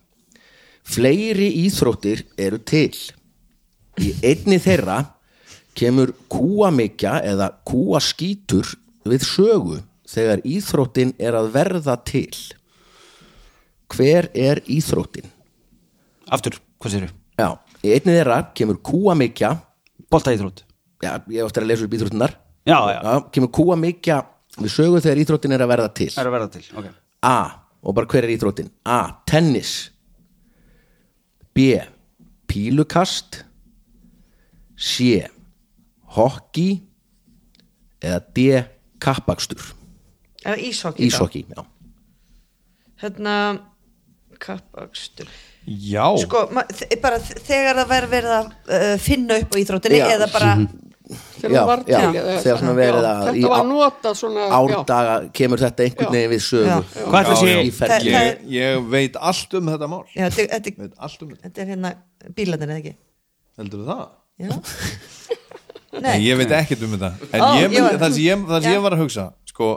Fleiri íþróttir eru til Í einni þeirra kemur kúamikja eða kúaskítur við sögu þegar íþróttin er að verða til Hver er íþróttin?
aftur, hvað séru?
Já, í einni þeirra kemur kúamikja
Boltaíþrótt
Já, ég hef eftir að lesa upp íþróttinnar
Já, já.
Kemur kúamikja við sögu þegar íþróttin er að verða til
er að verða til, ok
A, og bara hver er íþróttin? A, tennis B, pílukast C, hockey eða D, kappakstur
Er það ísokki?
Íshockey, já
Hérna, kappakstur
já,
Sko, ma- þe- bara þ- þegar það verður verið að uh, finna upp á íþróttinni
Já. Mhm.
eða bara
Þegar
Já,
það var
já,
til eða
þegar svona verið
Já,
að í
Þetta
á-
var notað svona já,
árdaga kemur þetta einhvern
Já.
veginn við sögu
Já.
Hvað ætla
Já,
sé
í ferli.
Það er-
ég, ég veit allt um þetta mál
Já, þetta, þetta,
veit allt um þetta,
þetta er hérna bílarnir eða ekki
heldur það?
Já
Nei,
Nei,
ég veit ekkert um þetta en
Ó,
ég,
ég
myndi,
var-
það sem ég, það sem
Já.
ég var að hugsa sko,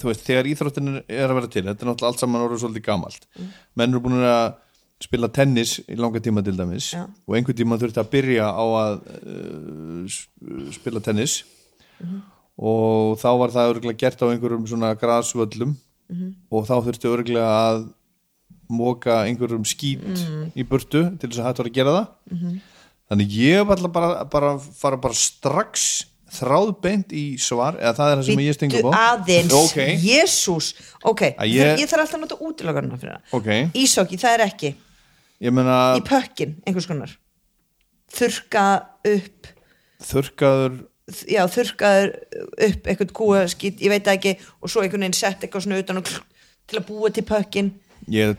þú veist, þegar íþróttin er er að vera til þetta er náttúrulega allt saman orðið svolítið gamalt
Mm.
menn eru búin að spila tennis í langa tíma til dæmis
Já.
og einhvern tíma þurfti að byrja á að uh, s- spila tennis og þá var það örgulega gert á einhverjum svona grasvöllum
Mhm.
og þá þurfti örgulega að móka einhverjum skít
Mhm.
í burtu til þess að hættu að gera það þannig ég ætla bara, bara fara bara strax þráðbeint í svar eða það er það sem ég stengur
Bíddu
på
aðeins,
okay.
jésús Ok,
Að
ég...
ég-
þarf alltaf að nota útilogarna fyrir það
Ok.
Ísokki, það er ekki
ég meina
Í pökkin, einhvers konar Þurka upp
þurrkaður
þ- Já, þurkaður upp eitthvað kúa skýt, ég veit það ekki og svo einhvern veginn sett eitthvað svona utan og klr, til að búa til pökkin
ég,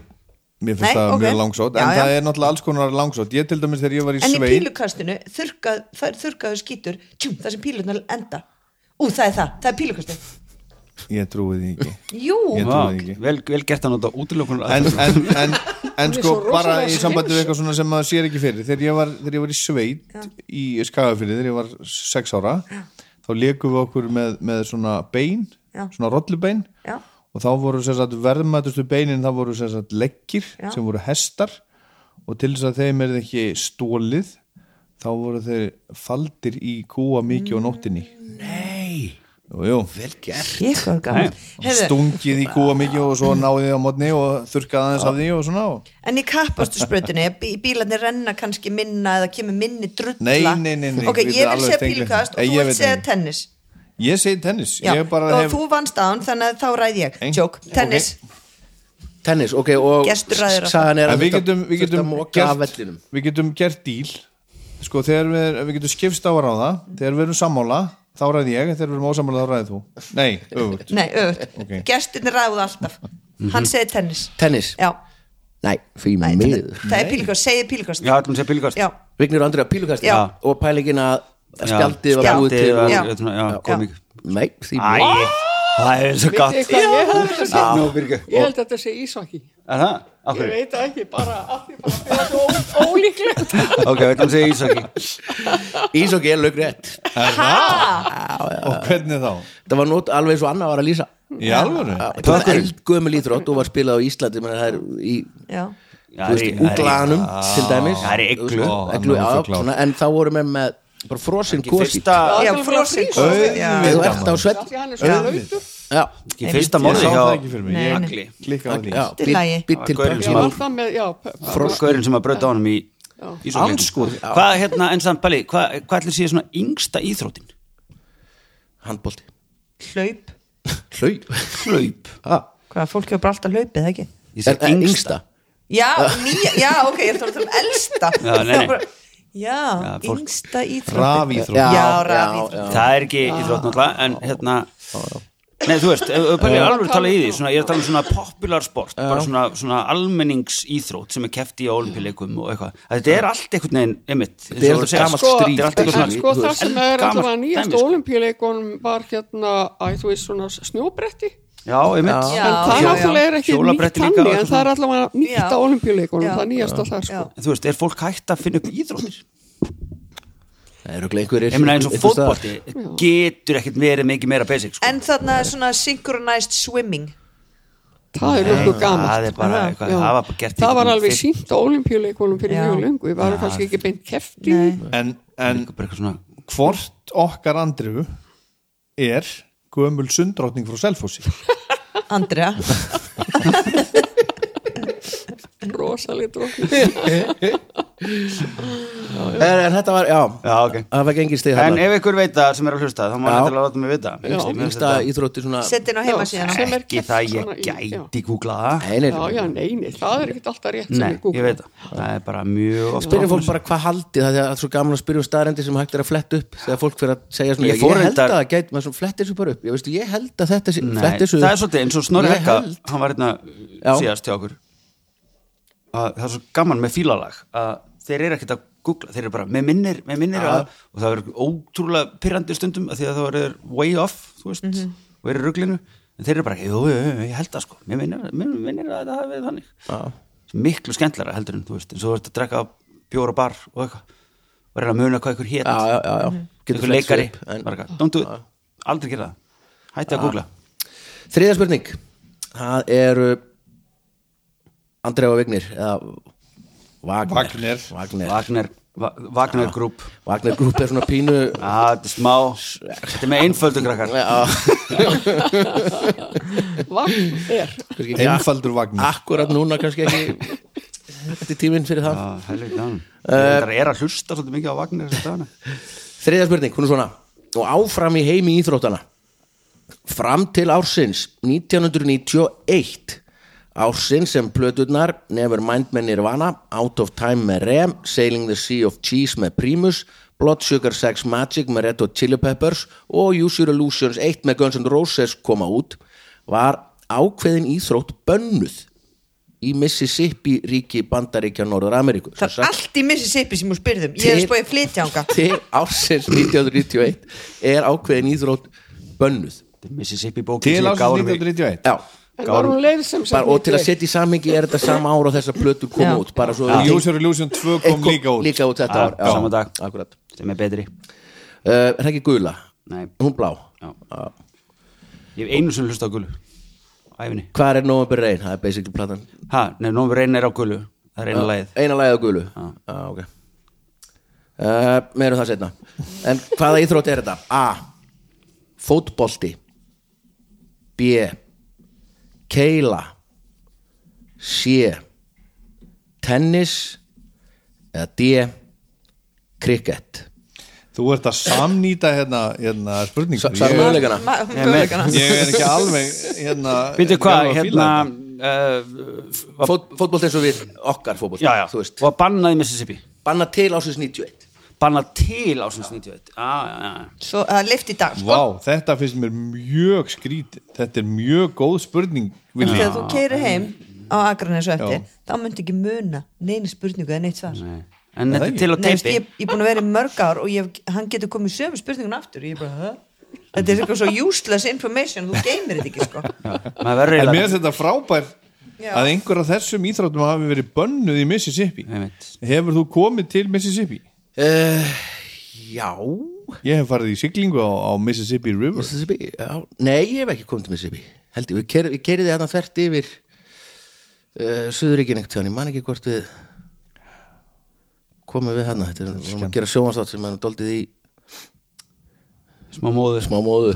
mér finnst
Nei,
það
ok.
mjög langsótt en
Já, já.
það er náttúrulega alls konar langsótt ég til dæmis þegar ég var í
En í
sveit
pílukastinu, þurkað, það er þurkaður skýtur tjum, það sem pílurnar enda Ú, það er það, það er pílukastin
ég trúi því ekki
Jú,
Ég-
Vá,
trúi
ok.
ekki.
vel, vel gert að nota útlökun
en, en, en, en sko
svo rosalega
bara í
skrýmsl.
sambandi við eitthvað svona sem maður sér ekki fyrir þegar ég var, þegar ég var í sveit í Skagafyrði þegar ég var sex ára þá leikum við okkur með, með svona bein,
Já.
svona rollubein
Já.
og þá voru sem sagt verðmætustu beinin þá voru sem sagt leggir
Já.
sem voru hestar og til þess að þeim er ekki stólið þá voru þeir faldir í kúa mikið á nóttinni Nei Jú, jú.
Vel gert
Ég var gaman Heyrðu,
Stungið í kúa mikið og svo náðið á mótni og þurrkað aðeins af því og svona og...
En í kappastu sprautinni bí, Bílarnir renna kannski minna eða kemur minni drulla
Nei, nei, nei, nei,
Ok,
við
ég
erum alveg
vil segja
tengli.
pílkast
Nei,
og þú
ég
vil
veit
segja
ekki.
tennis
Ég segi tennis,
Já,
ég bara
og
hef
þú vannst án þannig að þá ræði ég
Ein-
Jók, tennis
Tennis, ok, og
Gestur ræður á
sagan er
En
að
við getum, við
þurfti að
getum,
moka af
gert,
vellinum
við getum gert díl sko þegar við, við getum skipst á að ráða þegar við erum sammála þá ræði ég þegar við erum ósammála þá ræði þú nei, öfugt
Nei, öðvögt,
Ok.
gestirnir ræðu alltaf Hann segir tennis
Tennis,
Já,
nei, fyrir
nei,
miður
það er pílkast, segir pílkast
Já, ætlum að segja bílgast
já,
Vignir og Andrið að pílukast
Já.
og pælingin að spjaldið var búið til
var,
Já.
já, já,
Já.
kom ekki
Nei, því
Æ, það er svo
Veit
gott
þið hvað ég held að þetta sé?
Nú, Birgir.
Ég held að þetta sé ísvaki.
Er það? Af
Ég
hverju?
veit það ekki, bara að því bara það er svo ó- ólíklegt.
Ok, við ætlum að segja Ísaki
Ísokki er lögrétt
og hvernig þá?
Það var nót alveg svo annað var að lýsa
í alvöru?
Það var eldgömul íþrótt og var spilað á Íslandi menn það er í
já
þú veist, útlaganum til dæmis
Það er í
Þú
iglu.
veist,
Ó,
iglu,
alveg
já,
fullklárt.
svona, En þá voru með með bara frosin gósi
Fyrsta,
Já,
er bara
frosin
frís.
Já,
Þú ert á svell
Því hann er svo lautur.
Já,
ekki fyrsta
ég sá
morði
það ekki fyrir mig
Nei, nei.
ég
Agli
klikkaði á því
já,
Allt í
bít-
lagi.
bít til
Gaurinn
Ég
pökk.
var það með, já, p- p-
Gaurinn sem að brauta á honum í Ísaki
Andskotinn, já.
Hvað, hérna, en samt Palli, hvað hvað ætlir séð svona yngsta íþróttin?
Handbólti
hlaup
Hlaup Hlaup
Hvað, fólk hefur bara alltaf hlaupið, það ekki?
Ég
Er
segi
það yngsta?
Já, nýja, já, ok, ég ætla að tala um elsta
Já, nei, nei.
Bara- Já,
Já, fólk-
yngsta íþrótt
rafíþrótt
Já,
Já,
rafíþrótt.
já, já.
Það er ekki íþrótt náttúrulega en hérna Nei, þú veist, ef ef Palli er alveg að tala í því svona, ég er að tala um svona popular sport bara svona, svona almenningsíþrótt sem er kefti í ólimpíuleikum og eitthvað Að Þetta er allt einhvern veginn, einmitt eins og
er
þú
þetta
segir,
gamalt
sko,
stríð.
Þetta er allt
Þetta
En
einhvern
sko
þú
það
veist,
sem er
eldgamalt
alltaf nýjast
dæmi, sko.
olimpíuleikunum var hérna, æ, þú veist, svona snjóbretti.
Já, einmitt
En
Já.
það
já, já.
náttúrulega er ekki nýtt
Hjólabretti líka og
tanni,
eitthvað
en það er alltaf nýtt á
Já.
olimpíuleikunum,
Já.
það nýjast á það, sko.
Já.
En Þú veist, er fólk hægt að finna upp íþróttir?
Það eru einhverjir
Ég meina eins og
einhvers staðar.
fótbolti getur ekkert verið mikið meira basic sko.
En þarna er svona synchronized swimming
Það er nokkuð
Það
gaman.
er bara eitthvað, það var bara gert
það var
einhvern
alveg
veginn
sínt á olimpíuleikunum fyrir
Já.
mjög lengu, við varum kannski ekki beint kefti.
en, en
fyrst. Bara eitthvað svona
hvort okkar andru er gömul sundrótning frá Selfossi
Andrea
Rosalit
En en þetta var, já
Já, ok
Það var gengið stig
En
þarna.
ef ykkur veit það sem er að hlusta þá má
Já.
þetta láta mig vita Mér finnst- mér finnst
Yngsta
þetta-
íþrótti svona
Settin á heimasíðan
sem er
Ekki
keypt
það
svona
ég
í- já.
gæti googla það
Nei, nei,
Já, já, nei, nei, það er ekkert alltaf rétt sem
Nei,
ég googla.
ég veit það Það er bara mjög oft
Spyrjum fólk bara hvað haldið það því að það er svo gaman að spyrjum staðarendi sem hægt er að fletta upp þegar fólk fyrir að segja svona
Ég
ég,
fór
held að
reyndar-
það gæti maður svona flettir svo bara upp ég, veistu, ég held að þetta sé
Nei,
flettir svo
Það er svolítið eins og Snorri
Ég
Helga
held.
Hann var hérna
Já.
síðast til okkur að Það er svo gaman með fílalag að þeir eru ekkert að googla þeir eru bara með minnir, með minnir að, og það verður ótrúlega pyrrandi stundum af því að það verður way off þú veist,
Mhm.
og eru í ruglinu en þeir eru bara, jú, jú, jú, ég held það sko mér minnir, mér minnir að það hafi verið þannig
Já.
miklu skemmtlara heldur en þú veist eins og þú ert að drekka bjóra bar og eitthvað og reyna að muna hvað ykkur hét
Já, já, já, já. Getur
ykkur
flett svo
leikari,
upp, en-
bara eitthvað, don't do it aldrei gera það, hætti að googla
Þriðja spurning það eru Andrea og Vignir eða Wagner
Wagner.
Wagner,
Wagner, Va- Wagner Group
Wagner Group er svona pínu
Ah, þetta er smá, þetta er með einföldu krakkar
Vagn er.
einfaldur vagnar
akkurat núna kannski ekki þetta er tíminn fyrir það
Ah, helviti, hann.
Eh.
Þetta er að hlusta svolítið mikið á Wagner þessa dagana.
Þriðja spurning, hún er svona og áfram í heimi íþróttana fram til ársins 1991 ársins sem plöturnar Never Mind með Nirvana Out of Time með Rem Sailing the Sea of Cheese með Primus Blood Sugar Sex Magic með Red Hot Chili Peppers og Use Your Illusions 1 með Guns N' Roses koma út var ákveðin íþrótt bönnuð í Mississippi ríki Bandaríkja Norður Ameríku
Það er allt í Mississippi sem hún spyrðum Ég er
Til-
spóið flytjanga
til ársins 1991 er ákveðin íþrótt bönnuð
Þetta er Mississippi bókin
til
sem ég gáði
ásins
mig
1931
já,
En var hún leið sem
bara, og til að setja í samhengi er þetta sama ára og þessar plötu kom
Já.
út bara svo
og User Illusion 2 kom
Eitthvað-
líka út
líka út þetta
Já,
ár já,
sama dag.
akkurat
sem er betri
uh, er ekki gula,
Nei,
hún blá
Já. ég hef einu sem hlusta á gulu Æfinni
hvað er November Rain, það er basically platan
Ha, nefnum nómur reynir á gulu Það er eina lagið Ah.
eina lagið á gulu já, ok Eh, um uh, meðurum það setna en hvaða íþrótt er þetta? A fótbolti B keila C tennis eða D krikett
Þú ert að samnýta hérna, hérna spurningum
sagði
Ég-
möguleikana
Ma- möguleikana.
Ég er ekki alveg hérna
Býttu hvað,
gamla
hérna
fílan.
uh,
Fót, fótbolti eins og við okkar fótbolti
Já, já,
þú veist,
og bannað í Mississippi
banna til ásins 91
Bannað til ásins 91 Já, já, já
Svo það er lift í dag sko.
Vá, þetta finnst mér mjög skrít Þetta er mjög góð spurning Vili.
Þegar þú keirir heim á Akranes og eftir
Já.
þá myndi ekki muna neini spurningu eða neitt svar Nei,
En þetta er til á
veistu,
teipi
ég, ég er búin að vera í mörg ár og ég, hef- hann getur komið sömu spurningun aftur og ég bara, hæ? Þetta er eitthvað svo useless information, þú geymir þetta ekki sko.
Maður verður
En mér
eiginlega
finnst þetta frábær
Já.
að einhver af þessum íþróttum hafi verið bönnuð í Mississippi
Einmitt.
Hefur þú komið til Mississippi?
uh, Já
Ég hef farið í siglingu á, á Mississippi River
Mississippi, já Nei, ég hef ekki komið til Mississippi Held ég, við keir- við keiriði hérna þvert yfir uh, Suðuríkin ekkert Ég man ekki hvort við komum við hérna Þetta er við vorum að gera sjóhanstátt sem hann doldið í
Smá móður sko.
smá móðu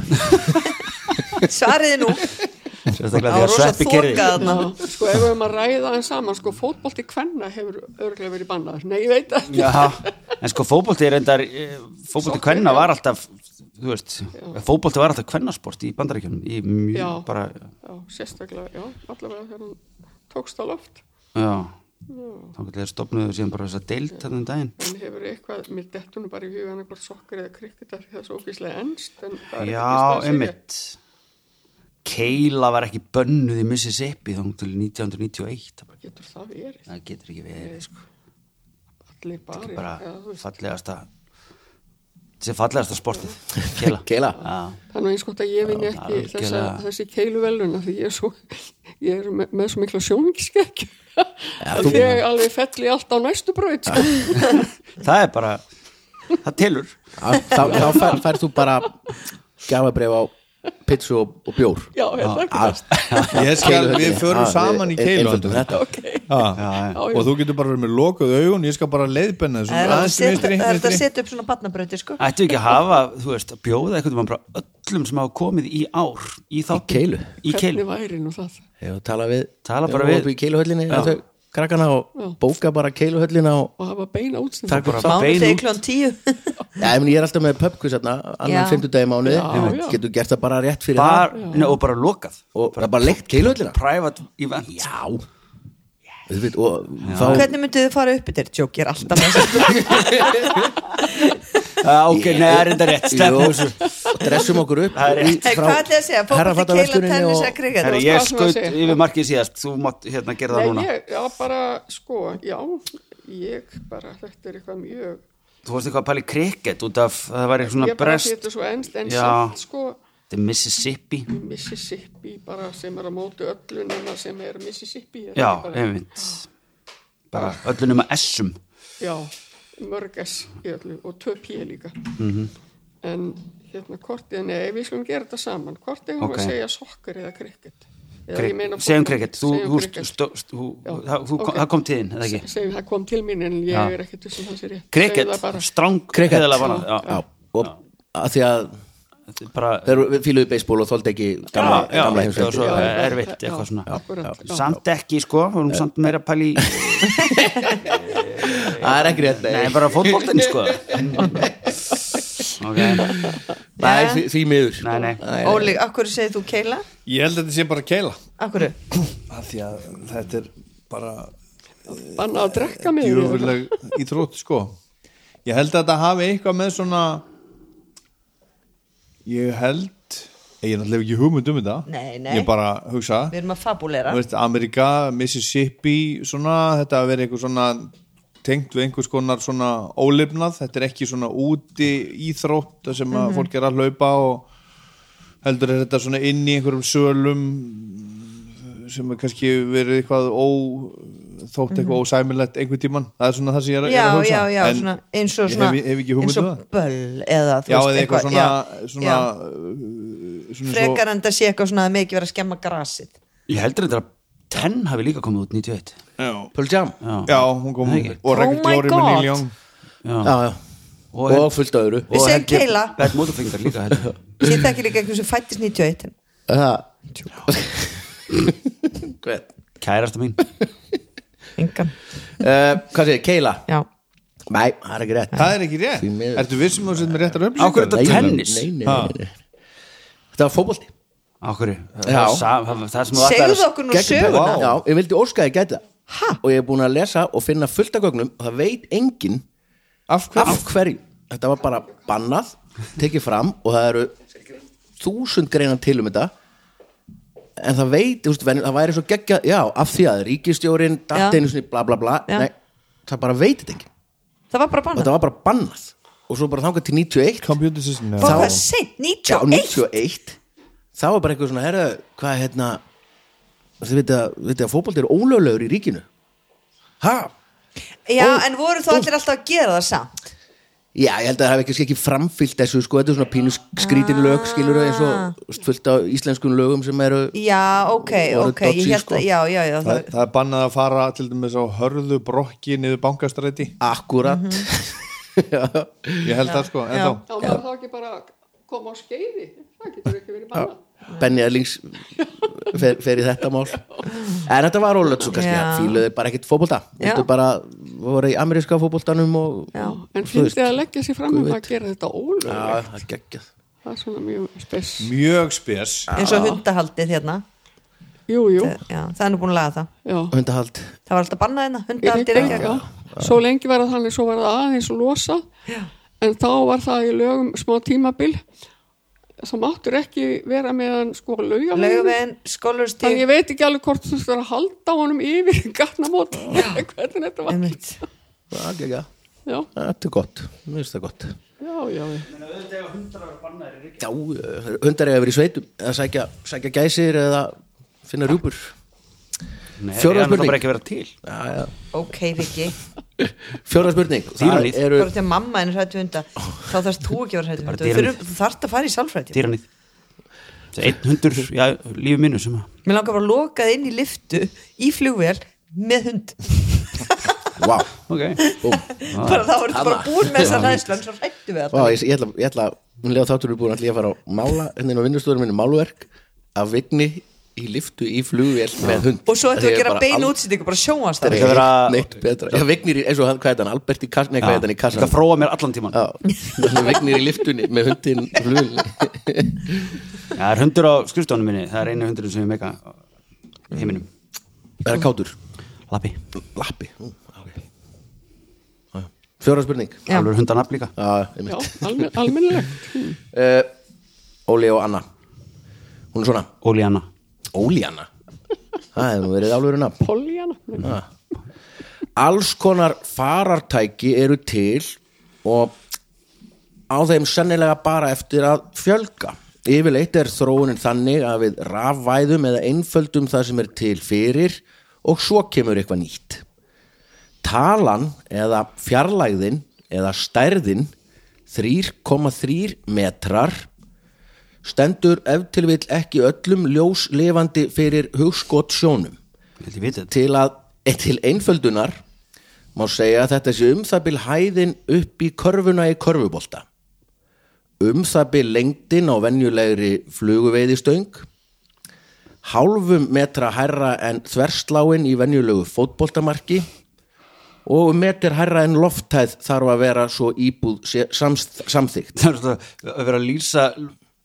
Svariði nú
Sérstaklega
Það
því
var
að
rosa
sveppi kerði
þokað þarna.
sko ef við erum að ræða en saman sko fótbolti kvenna hefur örglega verið bannaður nei ég veit ekki
Já, en sko fótbolti er endar fótbolti kvenna var alltaf þú veist, fótbolti var alltaf kvennasport í bandaríkjunum í mjög
Já.
bara
já, sérstaklega, já, allavega þegar hún tókst á loft
já, þá getur þeir stopnuðu síðan bara þess að deilt þarna um daginn
en hefur eitthvað, mér dettunum bara í hugan eitthvað sokkar eða krikketar því það er svo ógíslega ennst en það er ekki
Já,
stað að segja.
einmitt Keila var ekki bönnuð í Mississippi þá til 1991 það bara-
getur það verið,
það getur ekki verið sko.
allir bari
bara
eða, þú veist.
fallegasta þessi fallegasta sportið Keila
Keila.
Já.
þannig að eins gott að ég vinni
Já,
ekki þessa,
algjörlega.
þessi keilu velun því ég er, svo, ég er með, með svo mikla sjóningskekk að
þú-
ég alveg felli allt á næstu braut sko.
það er bara það telur
Þá, þá fær, fær þú bara gjafabref á pizzu og, og bjór Ah,
já, ég þakka það
Ég skal, við förum saman í keilu
Einföldum þetta
Já. Og þú getur bara verið með lokuð augun Ég skal bara leiðbenna
Það er
þessu
að
Aðeins til
setja-
vinstri,
það er hægt að
vinstri.
setja upp svona batnabröti sko.
Ættu ekki að hafa, þú veist, að bjóða eitthvað um bara öllum sem hafa komið í ár í þáttum.
keilu.
Í keilu.
hvernig væri nú það
Hefur tala við
Tala bara
Ef
við.
upp í keiluhöllinni
Já.
þau krakkana og bóka bara keiluhöllina og
og hafa beina útsendingu
taka upp
bara-
saman
Mánu
bein
þegar
út.
klón tíu
Já, ég, meni, ég er alltaf með pubquiz hérna annan
Já.
fimmtudagi mánuði
já.
getur gert það bara rétt fyrir
Bar, nei, og bara lokað.
það og bara, bara leikt keiluhöllina
Private event.
Já Auðvitað, og þá
Hvernig myndið þið fara upp í þér? Jók, ég er alltaf með þessu
Ah, ok, nei, það er enda rétt. Stefnum
Jú,
þessu.
og dressum okkur upp
Það er rétt.
Hey, Hvað ætlaði að segja? Fókvöldi keila
herrafatavesluninni
tennis
og-
að kriga
Herra,
varst
ég
hvað sem að
skaut
segja.
yfir markið síðast. Þú mátt hérna gera það
Nei,
núna.
ég, já, bara, sko, já, ég bara, þetta er eitthvað mjög,
Þú varst eitthvað að pæli krikett út af, það var eitthvað
ég
svona
bara
brest.
þetta svo ennst, en
Já.
samt, sko,
Þetta er Mississippi.
Mississippi bara sem er á móti öllu nema sem er Mississippi. er
Já,
það ekki bara,
einmitt. Bara öllunum að essum.
Já, mörg S í öllu og tvö P líka.
Mhm.
En hérna, hvort eða, nei, við skulum gera þetta saman, hvort eða
Ok.
okay. að segja sokkar eða krikket. Eða ég meina
Segjum
fótbolti.
krikett. Þú,
Segjum
þú,
cricket.
stó, stó,
Já,
það, þú,
ok.
það kom til þín, eða ekki?
Se- Segjum það kom til mín en ég
Já.
er ekkert um þessum það sér ég.
Krikett, stráng,
Cricket.
heiðarlega bannað. Já,
Já, og að því að
Þetta er bara
þeir eru- við fíluðu beisból og þóldi ekki gamla,
já,
gamla
já, það var svo
heimsveldi
erfitt eitthvað svona
akkurat, já.
samt ekki sko, við erum samt meira pæli í
Það er ekki rétt
nei,
nei.
bara fótboltin sko ok,
Nei, því- því
nei,
miður
nei
Óli, akkur segir þú keila?
Ég held að þetta sé bara keila
Akkur?
Af Því að þetta er bara
Banna að drekka mig.
djöfurleg íþrótt sko ég held að þetta hafi eitthvað með svona ég held ég er náttúrulega ekki hugmynd um þetta
Nei, nei.
ég bara hugsa
Við erum að fabulera
Þú veist, Amerika, Mississippi svona, þetta að vera eitthvað svona tengt við einhvers konar svona ólifnað, þetta er ekki svona úti íþrótt þar sem að
Mhm.
fólk er að hlaupa og heldur er þetta svona inn í einhverjum sölum sem er kannski verið eitthvað ó, þótt eitthvað ósæmilegt einhvern tíman, það er svona það sem ég er,
Mhm.
er
Já,
að hugsa
já, já,
En
svona, eins og
ég hef,
svona
hef ekki
eins
hugmynd um
og
það
böll eða þú
Já,
veist,
eða eitthvað svona,
já,
svona,
já.
uh, svona eins og-
frekar en það sé eitthvað svona að mikið vera að skemma grasið
ég heldur þetta að Ten hafi líka komið út 91
Já.
Pearl Jam
já,
Já, hún kom
Nei, ekki.
og
Oh
Record
my
Glory
God.
með Neil Young
já,
Já, já og, fullt af öðru
Við
og
segjum
held ég-
keila.
Bert Motorfinger líka held ég.
Sýnda ekki líka einhvern sem fættist 91
Það Hvern?
Kærasta mín
Engan,
Uh, hvað segir, Keila?
já
Nei, það er ekki rétt
Það er ekki rétt
Því miður.
Ertu vissum að þú setjum réttar
Á hverju
upplýsingar?
þetta-
Nei,
tennis?
Nei, nei,
Ha.
nei, nei. Þetta var fótbolti
Á hverju? Það
Já.
var sam- það- það sem þú
Segðu
ætlaðir
það
að-
okkur nú söguna
Já, ég vildi óska að ég gæti það Og ég er búin að lesa og finna fullt af gögnum og það veit enginn
Af hverju?
af hverju Þetta var bara bannað, tekið fram og það eru þúsund greinar til um þetta en það veit, þú veist, venju- það væri svo geggja já, af því að ríkistjórin,
Já.
dattinu sinni, bla bla bla,
Já.
nei, það bara veit þetta ekki
Það var bara
og
bannað
þetta var bara bannað og svo bara þangað til 91
Computer system
Það
þá-
var seint,
Já,
91
91 Sko, þá var bara eitthvað svona, herra, hvað hérna þið veit að, veit að fótbolt er ólöglegur í ríkinu ha?
Já,
Ó,
en voru þá allir alltaf að gera það samt
Já, ég held að það hafi ekki, ekki framfyllt þessu sko, þetta er svona pínu skrítin
Ah.
lög skilur eins og þú veist, fullt á íslenskun lögum sem eru
Já, ok,
Voru
ok, ég
dodgy,
held
sko.
að Já, já, já,
Það,
það
það er bannað að fara til dæmis á hörðu brokki niður bankastræti
akkurat
Mhm.
Ég held það sko, en þá
Já, maður þá ekki bara að koma á skeiði það getur ekki verið bara
Benny Erlings fer, fer í þetta mál en þetta var ólögt svo kannski,
Já.
það fíluði bara ekkit fótbolta
Já.
þetta bara voru í ameríska fótboltanum og
Já.
Þú
en
veist.
finnst þið að leggja sér fram
Guð
um
veit.
að gera þetta ólega
Já, það geggjað
það er svona mjög spes
Mjög spes
eins og hundahaldið hérna
jú, jú,
Já, það er nú búin að laga það
já
hundahald
Það var alltaf bannað hérna,
Ég
hundahaldið
líka,
er ekki
já. svo lengi var það þannig svo var það aðeins losa en þá var það í lögum smá tímabil þá máttur ekki vera meðan sko laugavegin
Laugavegin,
þannig
skólarstíg
ég veit ekki alveg hvort þú þurftur að halda á honum yfir garnamót hvernig þetta var
Einmitt.
það geggjað
já,
Þetta er gott, mér finnst það gott
já, já,
Já, eh, hundar eiga að vera í sveitum eða sækja, sækja gæsir eða finna rjúpur
Nei, það
Fjórða
er
spurning.
bara ekki að vera til
já, já.
Ok, Viki
Fjóra spurning Það
Dýralíf.
eru
Bara til að mamma henni hrættu hunda Þá þarfst þú ekki að vera hrættu
Bara
hunda Við
dýralíf.
þurfum- Þú þarft að fara í sálfræti
Dýranýð Einn hundur, já, lífi mínu sem að
Mér langar bara að lokað inn í liftu Í flugvél með hund
Vá,
Ok
búm
bara þá ertu bara
Anna.
búin með þessar hræðslu en svo hrættu
Vá,
við alltaf
ég, ég ætla, ég ætla Mér lega þáttur er búin allir að fara á mála hennin á vinnustóður minni máluverk af vigni í liftu í flugvél með hund
og svo ættu
Ég
að
er
gera
bara
bein
aldrei
útsýtingu bara sjóast það
Þetta er vera-
neitt betra Já, vignir í, eins og hann, hvað er hann, Albert í kassan Nei, hvað er hann í
Þetta
kassan
fróa mér allan tíman
Já, hann vignir í liftunni með hundin í flugvélinni.
Það er hundur á skrifstofunum minni Það er einu hundurinn sem ég mega í heiminum
Er hann kátur?
Lappi
Mm. Lappi Fjóra spurning
Já.
Alveg hundanafn líka
Já,
já
einmitt.
almen, almennilegt
Eh, Óli og Anna Hún er svona
Ólíanna
Óli Anna Það hefur nú verið alveg nafn
Mm.
Pollyanna,
Alls konar farartæki eru til og á þeim sennilega bara eftir að fjölga Yfirleitt er þróunin þannig að við rafvæðum eða einföldum það sem er til fyrir og svo kemur eitthvað nýtt talan eða fjarlægðin eða stærðin 3,3 metrar stendur ef til vill ekki öllum ljós lifandi fyrir hugskot sjónum
Þetta ég veit þetta
til að eh, til einföldunar má segja að þetta sé um það bil hæðin upp í körfuna í körfubolta um það bil lengdin á venjulegri fluguveiðistöng hálfum metra hærra en þversláin í venjulegu fótboltamarki og um metr hærra en lofthæð þarf að vera svo íbúð sé- samst, samþykkt
Það er svona að vera að lýsa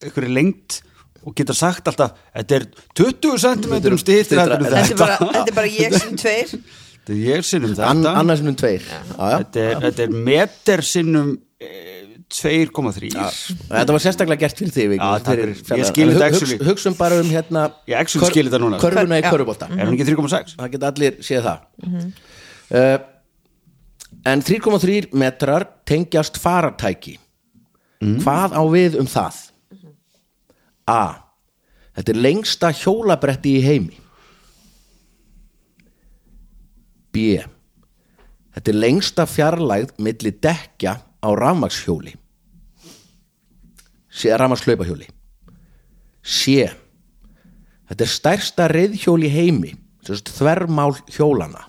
einhverju lengt og geta sagt alltaf Þetta er 20 cm um stýttir
Styttra-
Þetta
þetta er bara, þetta er bara ég sem tveir
Þetta er ég sinnum
Ann,
þetta
annars minnum tveir já, já.
Þetta er, þetta er meter sinnum eh, 2,3
Þetta var sérstaklega gert fyrir þig Vigni,
Já, takk
fyrir
fyrir.
fjallar-
Ég skil
En
þetta
hug-
actually.
hugs- Hugsum bara um hérna
Ég actually skil þetta núna.
Körfuna í
Já.
körfubólta
Er hún ekki 3,6?
Það geta allir séð það uh, En 3,3 metrar tengjast farartæki
Mhm.
Hvað á við um það? A Þetta er lengsta hjólabretti í heimi B Þetta er lengsta fjarlægð milli dekja á rafmakshjóli C. Rafmakslaupahjóli C. Þetta er stærsta reyðhjól í heimi þvermál hjólana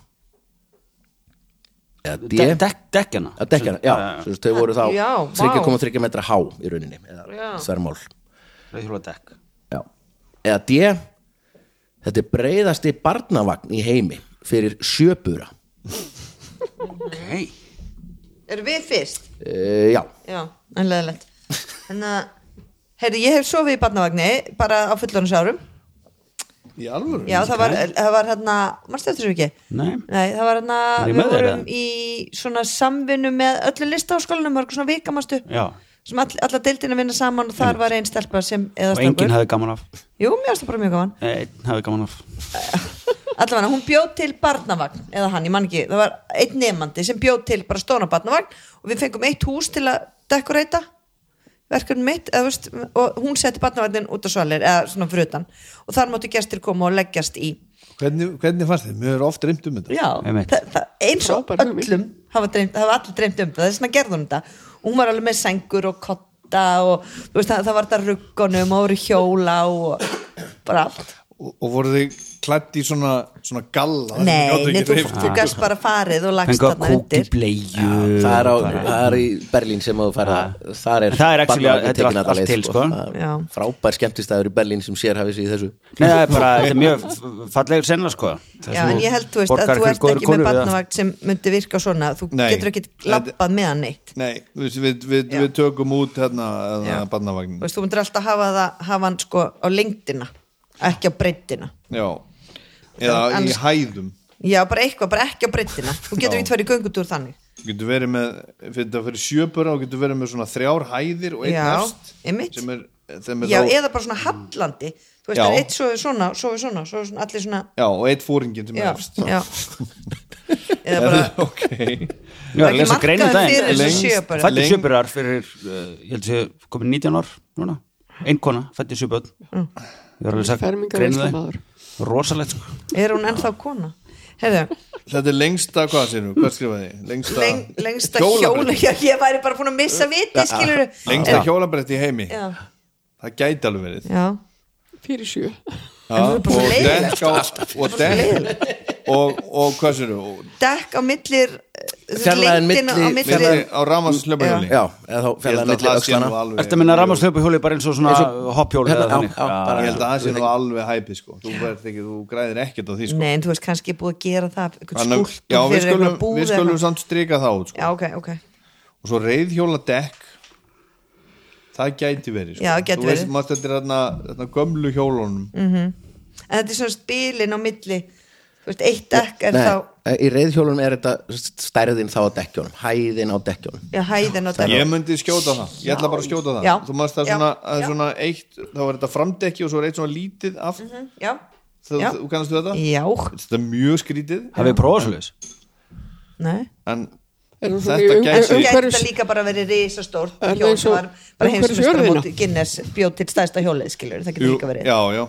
eða D
De, dek, dekkjana
að dekkjana, já, svo þess, þau voru þá
Já, vá.
3,3 metra há í rauninni eða
Já.
þvermál
Reiðhjóla eh, dekk
já. eða D þetta er breiðasti barnavagn í heimi fyrir sjöbura
Ok
Erum við fyrst?
e, já,
Já, en leðilegt Þannig að, heyrðu, ég hef sofið í barnavagni bara á fullónus árum
Í alvöru?
Já, það var, það var hérna, mannstu eftir svo ekki?
Nei.
það var hérna,
Var ég
við
með þér,
vorum
eða?
í svona samvinnu með öllu listaháskólanum, var eitthvað svona vika, mannstu?
Já.
Sem all, alla deildina vinna saman og þar var einn stelpa sem, eða
Og enginn
stelpur.
hafði gaman af
Jú, mér varst það bara mjög gaman.
Einn hafði gaman af
allavega hún bjóð til barnavagn eða hann, ég man ekki, það var einn nefandi sem bjóð til bara stóna barnavagn og við fengum eitt hús til að dekoreita verkefni mitt eða, veist, og hún setti barnavagnin út á svalir eða svona frutan og þar máttu gestir koma og leggjast í
Hvernig, hvernig fannst þið? Mér er oft reymt um þetta.
já,
Einmitt.
það, það, eins og
Frábær hugmynd.
öllum hafa, dreymt, hafa allir dreymt um það, þess vegna gerði hún þetta og hún var alveg með sengur og kotta og þú veist, það, það var þetta ruggunum og voru hjóla og bara allt
Og, og voru þið klætt í svona, svona galla?
nei, nei, þú, þú
gæst.
gast bara farið og lagst
Fengið Ah. að
þarna
kúk í
undir
bleju
það er, á, það er í Berlín sem þú færða það er,
En það er actually-
barnavagn
þetta er
tekinn
allt-
alla
allt
leið,
til, sko.
Það er
Já.
frábær skemmtistæður í Berlín sem sér hafið sig í þessu
Nei, það er bara, þetta er mjög f- fallegur senna sko Það
Já,
sem
en
þú
ég held, þú veist,
borgar
að þú
fyrir
ert
góðri
ekki
konu
með
við það.
barnavagt sem myndi virka svona, þú
Nei.
getur ekki lappað með hann neitt,
Nei, við, við, við,
Já.
við tökum út hérna, hérna
Já. þú
barnavagnin.
veist, þú myndir alltaf hafa, það, hafa hann sko á lengdina ekki á breyttina,
Já. Eða í
Annars-
hæðum.
já, bara eitthvað, bara ekki á breyttina, þú
Já.
getur ekki tverju göngutúr þannig,
Þú getur verið með, fyrir það fyrir sjöbura og getur verið með svona þrjár hæðir og einn
Já,
öst.
einmitt.
Sem er, sem er
já,
þá,
eða bara svona hallandi, þú veist,
Já.
það er eitt svo svona, svo svona, svo svona, allir svona,
já, og einn fóringin sem
já,
er efst.
já eða bara,
ok.
Ég var
Það er
að lesa
ekki
greinu
markaður fyrir þessu Lengst- sjö börn.
daginn Fættu
lengst-
sjöburar fyrir, uh, ég held að sé komin 19 ár núna, ein kona, fættu sjöbörn
Mm.
Ég var að lesa
Fermingar
greinu
veislumaður.
það Rosalegt sko
er hún ennþá kona heyrðu,
Þetta er lengsta, hvað sér nú, hvað skrifaði? þið? Lengsta,
leng, lengsta hjóla já, ég væri bara búin að missa viti, skilur
Lengsta hjólabrett í heimi.
já,
Það gæti alveg verið.
já
fyrir sjö
Já,
það er bara svo
og
leiðilegt.
dekk á og dekk og, og hvað sér þú
dekk á millir
Fjarlægðin
lengdin á
milli-
millir
Milli- á ramans hlöpahjóli
já, eða þá
ég
fæða
held að
milli
það sé nú
öxlana
alveg
Ertu að minna rammarslöpu hjóli bara eins og svona hoppjóli
Hérna,
eða
já,
þannig
já, bara-
ég held að það sé nú alveg hæpi sko. þú, verð ekki, þú græðir ekkert á því sko.
Nei, en þú veist kannski búið að gera það einhvern
Þannig-
skúlptúr
já, við
fyrir hérna. einhverja
skulum,
búð
við
eða
skulum
eitthvað.
samt strika það út
Já,
sko.
ok, ok
og svo reyðhjóla dekk það gæti verið sko.
Já, gæti
þú veist,
verið. Mm.
mást þetta er þarna þarna gömlu hjólunum
En þetta er svona spilin á milli Þú veist, eitt dekk er
Nei, eh,
þá
í reyðhjólunum er þetta stærðin þá á dekkjónum, hæðin á dekkjónum
Já, hæðin á dekk
ég myndi skjóta það, ég ætla bara að skjóta það
Já.
þú mást það
Já.
svona, að
Já.
svona eitt þá var þetta framdekki og svo er eitt svona lítið aft mm
Já,
þú,
Mhm. Já.
þú kannast við þetta?
já,
Þetta er mjög skrítið
Hafið prófaðsleis
nei
en
Er hún svona í
þetta
um-
gæti
En svo
um-
gæti
Umhverfis-
þetta líka bara verið risastórt
Er það
hjól
eins og-
sem var bara
umhverfis
heimsumistara
jörðina?
móti Guinness bjóð til stæðsta hjólið skilur það getur
Jú,
líka verið
já, já.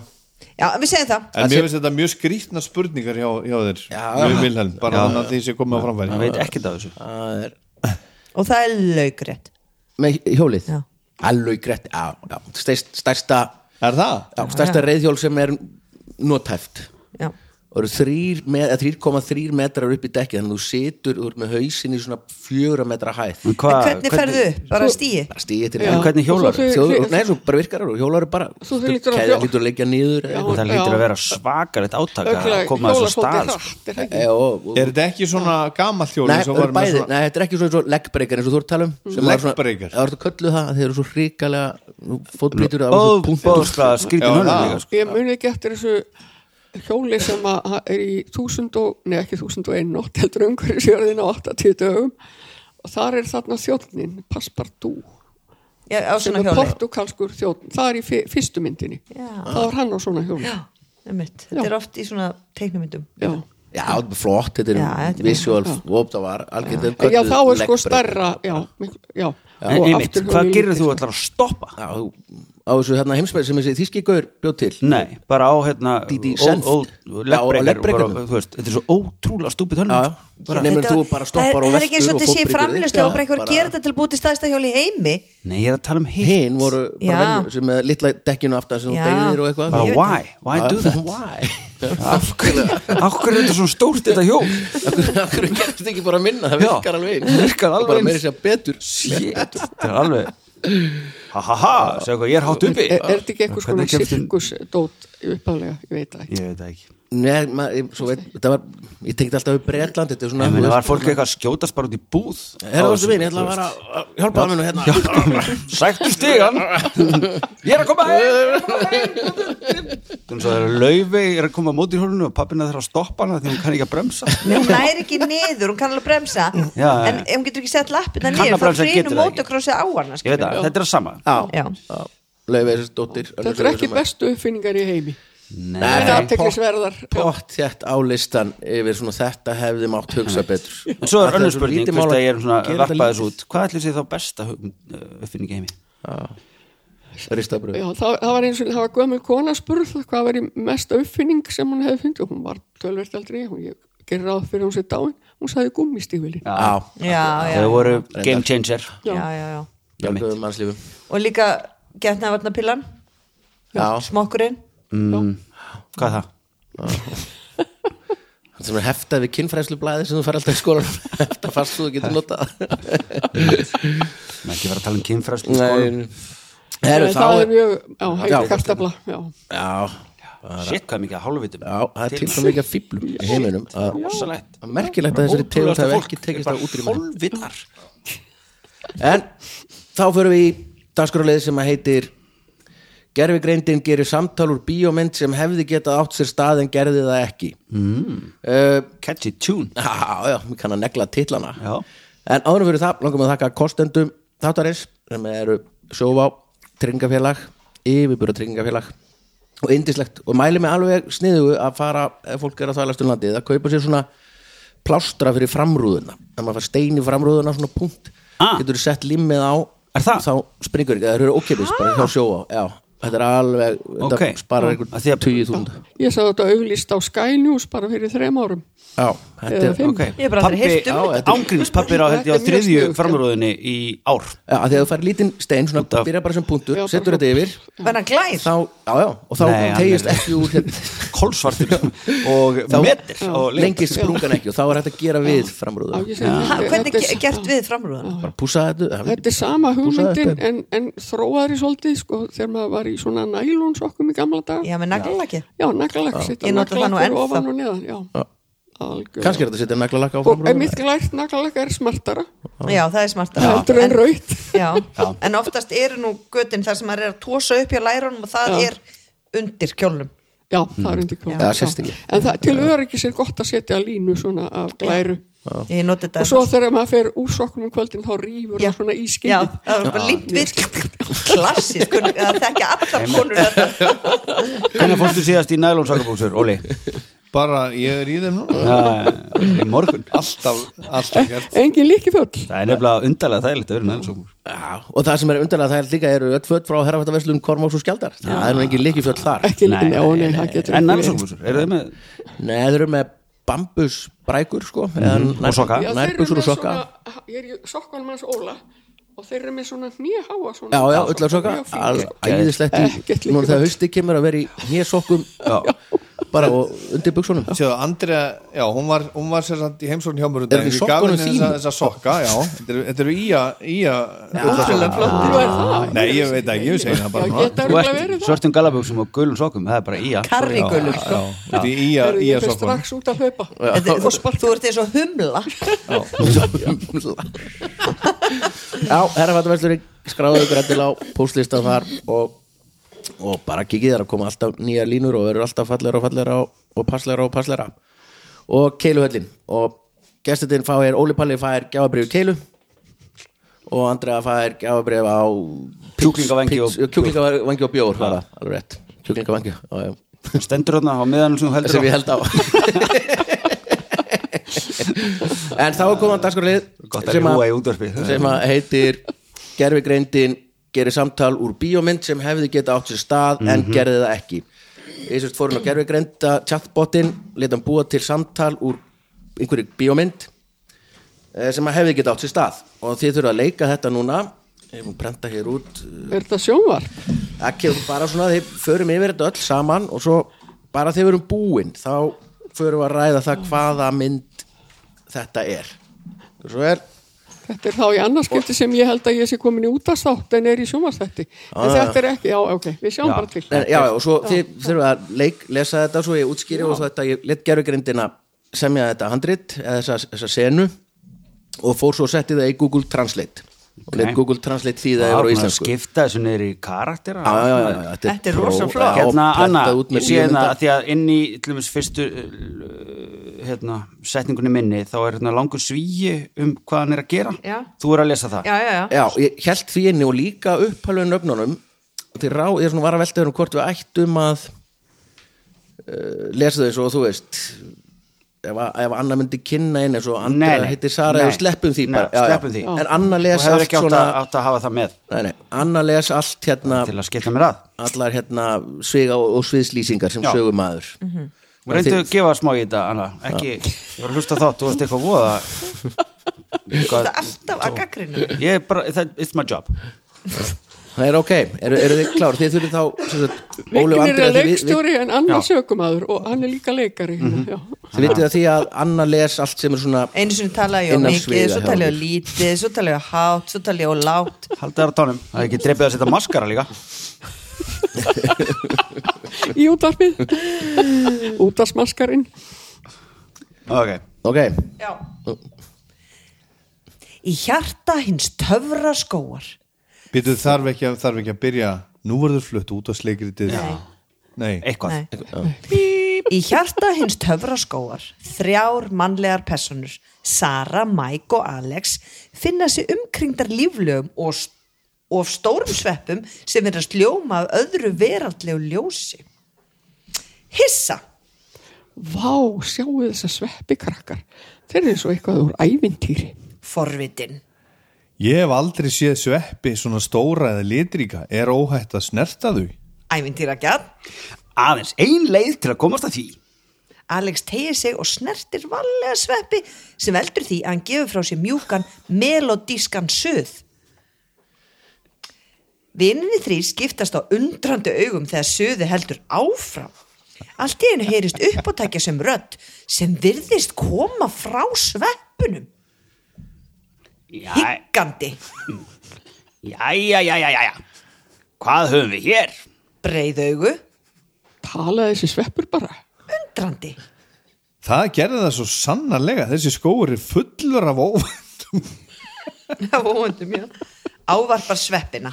Já, en við segjum það
en mér finnst þetta mjög skrítna spurningar hjá, hjá þér mjög vilhelm, bara þannig að því sé komið á
Það
framfæri
veit ekkert af þessu
Það er-
og það er laugrétt
með hjólið
Já.
alveg greitt já, já, stærst, stærsta,
er það?
já, stærsta reyðhjól sem er notæft
Já,
og eru þrír me- eða 3,3 metrar upp í dekki þannig að þú situr úr með hausin í svona 4 metra hæð
En
en
hvað-
hvernig ferðu upp? Bara
Sko-
Mm.
stíi?
bara stíði til
Já.
þér.
hvernig hjólar?
Og svo þau-
Þú-
þau-
nei, svo bara virkar og hjólar er bara
Svo þau lítur að
keðja
hjó-
lítur að leggja niður eða
Já.
eitthvað.
Það lítur að vera svakalegt átaka að
örugglega
koma að
hjóla
þessu
svolítið
stað sko.
hratt, er það ekki?
Eh, og- og-
er þetta ekki svona gamalt hjóli
Nei,
sem
það
var
eru
með
bæði,
svona-
nei, þetta er ekki svona, svona leggbreykar eins og þú ert að tala um sem var svona- Já,
Leggbreykar?
þú ert að köllu það, þeir eru svo hrikalega fótblítur það var svo punktur
Óbóðslega
Já,
skrítið hönnu
það.
líka sko
Ég muni ekki eftir þessu hjóli sem að að er í 1000 og, nei ekki 1001 nótt heldur umhverfisjörðin á 80 dögum og þar er þarna þjóðnin Passepartout
Já, á
sem
svona
er
hjóli
portugalskur þjóðn það er í fi- fyrstu myndinni
Já.
það var hann á svona hjóli
Já, einmitt. þetta
Já.
er oft í svona teiknumyndum
Já.
Já, þetta er flott, þetta
Já,
er
þetta er-
visual og það var algjörð þeir
já
kölluðu
þá er sko
leggbreykar.
stærra já, miklu- já.
En
og
einmitt,
aftur
hvað
hjólið
gerir
lítið,
þú
sko.
ætlar að stoppa?
Já, þú á þessu hérna heimsmeir sem þessi þíski gaur bjóð til
Nei, bara á hérna
DD
ó-
Senft.
ó-
Já, á
leggbreikar,
leggbreikanum.
bara, þú veist, Þetta er svo ótrúlega stúpid hönnum
Já,
sko.
bara nefnir
Þetta-
þú bara stoppar
það er-
og
Það er ekki eins
veltur
og
og
þetta sé
fólk brýtur þig.
framlust og bara einhver
Bara-
gerir þetta til bútið stæðsta hjóli heimi
Nei, ég er að tala um hitt
hinn voru
Já.
bara venjur sem með litla dekkinu aftan sem þú
Já.
beigðir og eitthvað
Bara
Ég veit
why, why do that
Why?
Af hverju af hverju er þetta svona stórt þetta hjól
Akkur gerist þetta ekki bara að minna, það
Já,
virkar alveg eins.
það virkar alveg
Bara
eins.
meira sér betur
Shit, þetta er alveg Ha ha ha, segðu hvað, ég er hátt uppi
er, er þetta ekki eitthvað svona
Hvernig kemst inn-
sirkusdót uppálega, ég veit það ekki
Ég veit það ekki
Nei, maður, svo veit, þetta var Ég tekið alltaf upp Breitland, þetta er svona
Ég meina,
þú
var
veist,
fólk eitthvað að skjótast bara út í búð
Herra þú veist, ég ætla að vera að hjálpa það mér nú hérna
Sæktu stigan Ég er að koma heim Þannig að laufi er að koma á móti í hólunum og pappina þarf að stoppa hana því hún kann ekki að bremsa
hún næri ekki niður, hún kann alveg bremsa
Já, já, já.
en ef hún getur ekki sett lappina
Kann að
niður
bremsa,
þá
getur
hrýnum
það ekki.
motocrossið á hana
Ég veit
skilur.
það, þetta er að sama
Já.
Já, leiði þessi dóttir
þetta er ekki bestu uppfinningar í heimi þetta er
Nei,
aðteklisverðar
Pott þett á listan yfir svona þetta hefði mátt hugsa betur
en svo er
Þetta
önnur
svo
spurning
lítið
þú veist
mál
að ég er svona
gera þetta
varpaðis
lítið.
út Hvað ætlir sér þá besta hugmynd- uh, uppfinning í heimi?
Ristabröð
Já, það, það var eins og það var gömul kona spurð hvað var í mesta uppfinning sem hún hefði fundið og hún var tölvert aldrei hún ég gerir ráð fyrir að hún sér dáin hún sagði gummistífili
Já,
já, já,
Þau voru game changer
já, já, já.
Bjargaðu mannslífum
og líka getnaðvarnapillan
Já,
smokkurinn
Hvað er það?
það sem er heftað við kynfræðslublaði sem þú fær alltaf í skólan Hefta fast svo þú getur notað
Má ekki vera að tala um kynfræðslu í skólum.
Nei Heru, þá
það er
er,
mjög, já,
Já.
heitir kastafla já,
já,
Shit, hvað er mikið að hálfvitum
já, það er til svo mikið fíblum í heiminum að
Rosalegt
að merkilegt að þessari tegund hafi ekki tekist að útrýma
Hálfvitar
en þá förum við í dagskoruleið sem að heitir Gerfigreindin gerir samtal úr bíómynd sem hefði getað átt sér stað en gerði það ekki mm.
Catchy tune
Já, já, mér kann að negla titlana
Já.
En áðurum fyrir það, langum við að þakka kostendum þáttarins sem eru sjófá, tryggingafélag yfirbúra tryggingafélag og indislegt og mæli mig alveg sniðu að fara ef fólk er að þvælast um landið að kaupa sér svona plástra fyrir framrúðuna ef maður fær stein í framrúðuna svona punkt
Ah.
getur þú sett limmið á
Er það? Ah.
þá springur ekki, það eru ókipis bara hjá sjófá já, þetta er alveg
Ókei.
þetta sparar
Að því
einhvern
að-
tíu þúsund
ég sagði þetta auglýst á Sky News bara fyrir þrem árum
já, þetta
Eða
er
fimm.
Ok,
Ég hef bara aldrei heyrt um
Pabbi-
þetta.
Ángríms pappi er á, held ég, á
Þetta er mjög
þriðju
sniðugt, já.
framrúðinni í ár
Já, að því að þú fær lítinn stein, svona
Út af-
byrja bara sem punktur,
Já, bara
setur
svona-
þetta yfir
var hann glær
þá, já, já, og þá
Nei, hann
tegist
er-
ekki úr hérna,
Kolsvartir og metir og lengi
lengist sprungan ekki og þá er þetta að gera við
Já,
framrúðu
ég segi
ha,
þetta-
hvernig
þetta er-
ge- gert við framrúðan
bara púsa þetta
Þetta er sama
pússa
hugmyndin
þetta.
en, en þróaðri svolítið sko þegar maður var í svona nælonsokkum í gamla dag.
já, með naglalaki
Já, naglalakk sitt
Ég nota það nú ennþá.
ofan og neðan, já.
Já.
Algjörlega.
kannski er þetta að setja naglalakka á
Og
framrúðuna
einmitt glært naglalakk er smartara,
já, það er smart
heldur en raut.
Já. en oftast eru nú götin þar sem maður er að tósa upp hjá lærunum og það
Já.
er undir kjólnum
Já, það er undir kjóla.
Mhm. Já, sést ekki.
En það, til öryggis er gott að setja línu svona af glæru.
ég noti þetta
Og svo þegar maður fer úr sokkum um kvöldin þá rýfur
Já.
það svona í
já,
skildið.
það var bara límt við klassist, kunn- það þekkja allar konur þetta
Hvernig fórstu síðast í nælón sakabúsur, Óli?
bara ég er í þeim núna
Í morgun
alltaf, alltaf gert
Engin líki föll.
Það er nefnilega undarlega þægilegt að vera nælón sakabús
Já, og það sem er undanlega það er líka eru öll föt frá herrafættaverslun Kormáks og Skjaldar það er nú engin líkifjöld þar
Ekki líki, já, nei, það
En
getur verið.
nælón sakabúsur, eru þið með?
Nei, þeir eru með bambusbrækur sko, mm
Mhm. Og sokka.
Já, þeir eru
nærbuxur og
með
sokka
svona, ég er í sokkan manns Óla og þeir eru með svona nýjaháa svona.
Já, já, öllar sokka,
Mjög fín, sko.
æðislegt
Ekkert
í-
líka
núna þegar hausti kemur að vera í hésokkum bara og undir buksunum
Sjáðu, Andrea, já, hún var, hún var sér samt í heimsókn hjá mér um
Eru
daginn.
þið
Ég gaf
sokkunum
henni þessa,
þínum?
þessa sokka, já Þetta eru- þetta eru ía, ía
ótrúlega flott
Nú er það.
Nei, ég veit ekki, ég segi það
Já,
bara núna.
geta
Þú
örgulega
ert
verið það.
svörtum galaböksum og gulum sokkum, það er bara í að
karrigulur
Já, Þetta er ía,
Heyrðu,
ía
Ég fer
sokkunum
strax út að hlaupa.
Þetta er- þú, þú ert eins og humla
Já, herrafattarverslurinn skráðu ykkur endil á póstlista þar og, og bara kikið þar að koma alltaf nýjar línur og verður alltaf fallera og fallera og, og passleira og passleira og keiluhöllin og gestutinn fáir, Óli Palli fær gjáfabrif keilu og Andrea fær gjáfabrif á
Kjúklingavangi og-
kjúklingavangi og bjór var það, alveg rétt, kjúklingavangi já, já.
Stendur þarna á meðanum sem þú heldur
sem ég held á en þá er komað dagskorlið
Gott að rúa í útvarpi.
sem að heitir gerfigreindin gerir samtal úr bíómynd sem hefði geta átt sér stað
Mhm.
en gerði það ekki Ísvist fór hann á gerfugreinda chatbotin, leta hann búa til samtal úr einhverju bíómynd eh, sem að hefði geta átt sér stað og þið þurfa að leika þetta núna ef hún prenta hér út
Er þetta sjónvarp?
það kemur bara svona að þið förum yfir þetta öll saman og svo bara þegar við erum búin þá förum við að ræða það hvaða mynd þetta er svo er
Þetta er þá í annarskipti sem ég held að ég sé komin í útastátt en er í sjónvarstætti. En þetta er ekki, já, ok, við sjáum bara til.
en, Ah, já, já, og svo þið þurfum að leik, lesa þetta svo ég útskýri og svo þetta ég let gerfugrindina semja þetta handrit eða þessa, þessa senu og fór svo að setja það í Google Translate og let
Ok.
Google Translate þýða
Já,
yfir á
svona
íslensku
skipta þessu niður í karaktera
Já, já, já, já,
Þetta er rosa
pró-
flott.
já,
hérna Anna,
prentað út
ég
með
sé hérna
bíómynda.
að því að inn í til dæmis fyrstu uh, hérna, setningunni minni þá er hérna langur svíi um hvað hann er að gera
Já.
þú er að lesa það
já, já, já,
Já, ég held því inni og líka upphælu nöfnunum til rá, ég svona var að velta um hvort við ættum að uh, lesa þau eins og þú veist ef, að- ef Anna myndi kynna einn eins og Andra
Nei, nei,
heitir Sara
nei.
eða sleppum því
Nei,
bara, já, já.
sleppum því.
En Anna les
og hefur
allt
ekki átt,
svona
að, átt að hafa það með
nei, nei, Anna les allt hérna
til að skella mér að
allar hérna sviga og, og sviðslýsingar sem
Já.
sögum aður
og reyndu að gefa smá í þetta Anna ekki, ég var að hlusta á þátt, þú varst eitthvað voða
það
eitthvað,
er alltaf að gaggrinu
ég er bara það, it's my job
Það er ok, eru, eru þið klár? Þið þurfið þá sem sagt, Óli og
Vignir er
Andri að
að
þið- Mhm. við-
leikstjóri en annar
Já.
sökumadur og hann er líka leikari. Mm
Þið vitið að því að Anna les allt sem er svona
einu sinni tala ég á
Innan
mikið,
sviga
svo
hjá
tala ég á
þér.
lítið svo tala ég á hátt, svo tala ég á látt
haldið þér á tánum, það er ekki drefið að setja maskara líka
Í útarpið. Útarsmaskarinn.
ok,
Ok,
Já. Í hjarta hins töfra skóar
Býtu, þarf ekki, að, þarf ekki að byrja Nú verður flutt út á sleikritið Nei,
eitthvað
Nei. Í hjarta hins töfra skóar þrjár mannlegar personur Sara, Mike og Alex finna sig umkringdar líflögum og, s- og stórum sveppum sem er að sljóma af öðru veraldlegu ljósi Hissa
Vá, sjáu þessa sveppikrakkar. Þeir eru svo eitthvað úr ævintýri.
forvitin
ég hef aldrei séð sveppi svona stóra eða litríka Er óhætt að snerta þau?
Ævintýragjad
aðeins, ein leið til að komast að því
Alex tegir sig og snertir vallega sveppi sem veldur því að hann gefur frá sér mjúkan melodískan söð. Vininni þrý skiptast á undrandi augum þegar söðu heldur áfram. Allt í einu heyrist uppátækja sem rödd sem virðist koma frá sveppunum,
já,
higgandi.
Jæja, jæja, jæja Hvað höfum við hér?
Breið augu,
Talaði þessi sveppur bara.
undrandi.
Það gerði það svo sannarlega Þessi skóur er fullur af óvænt
Óvöndum, já. Ávarpar sveppina.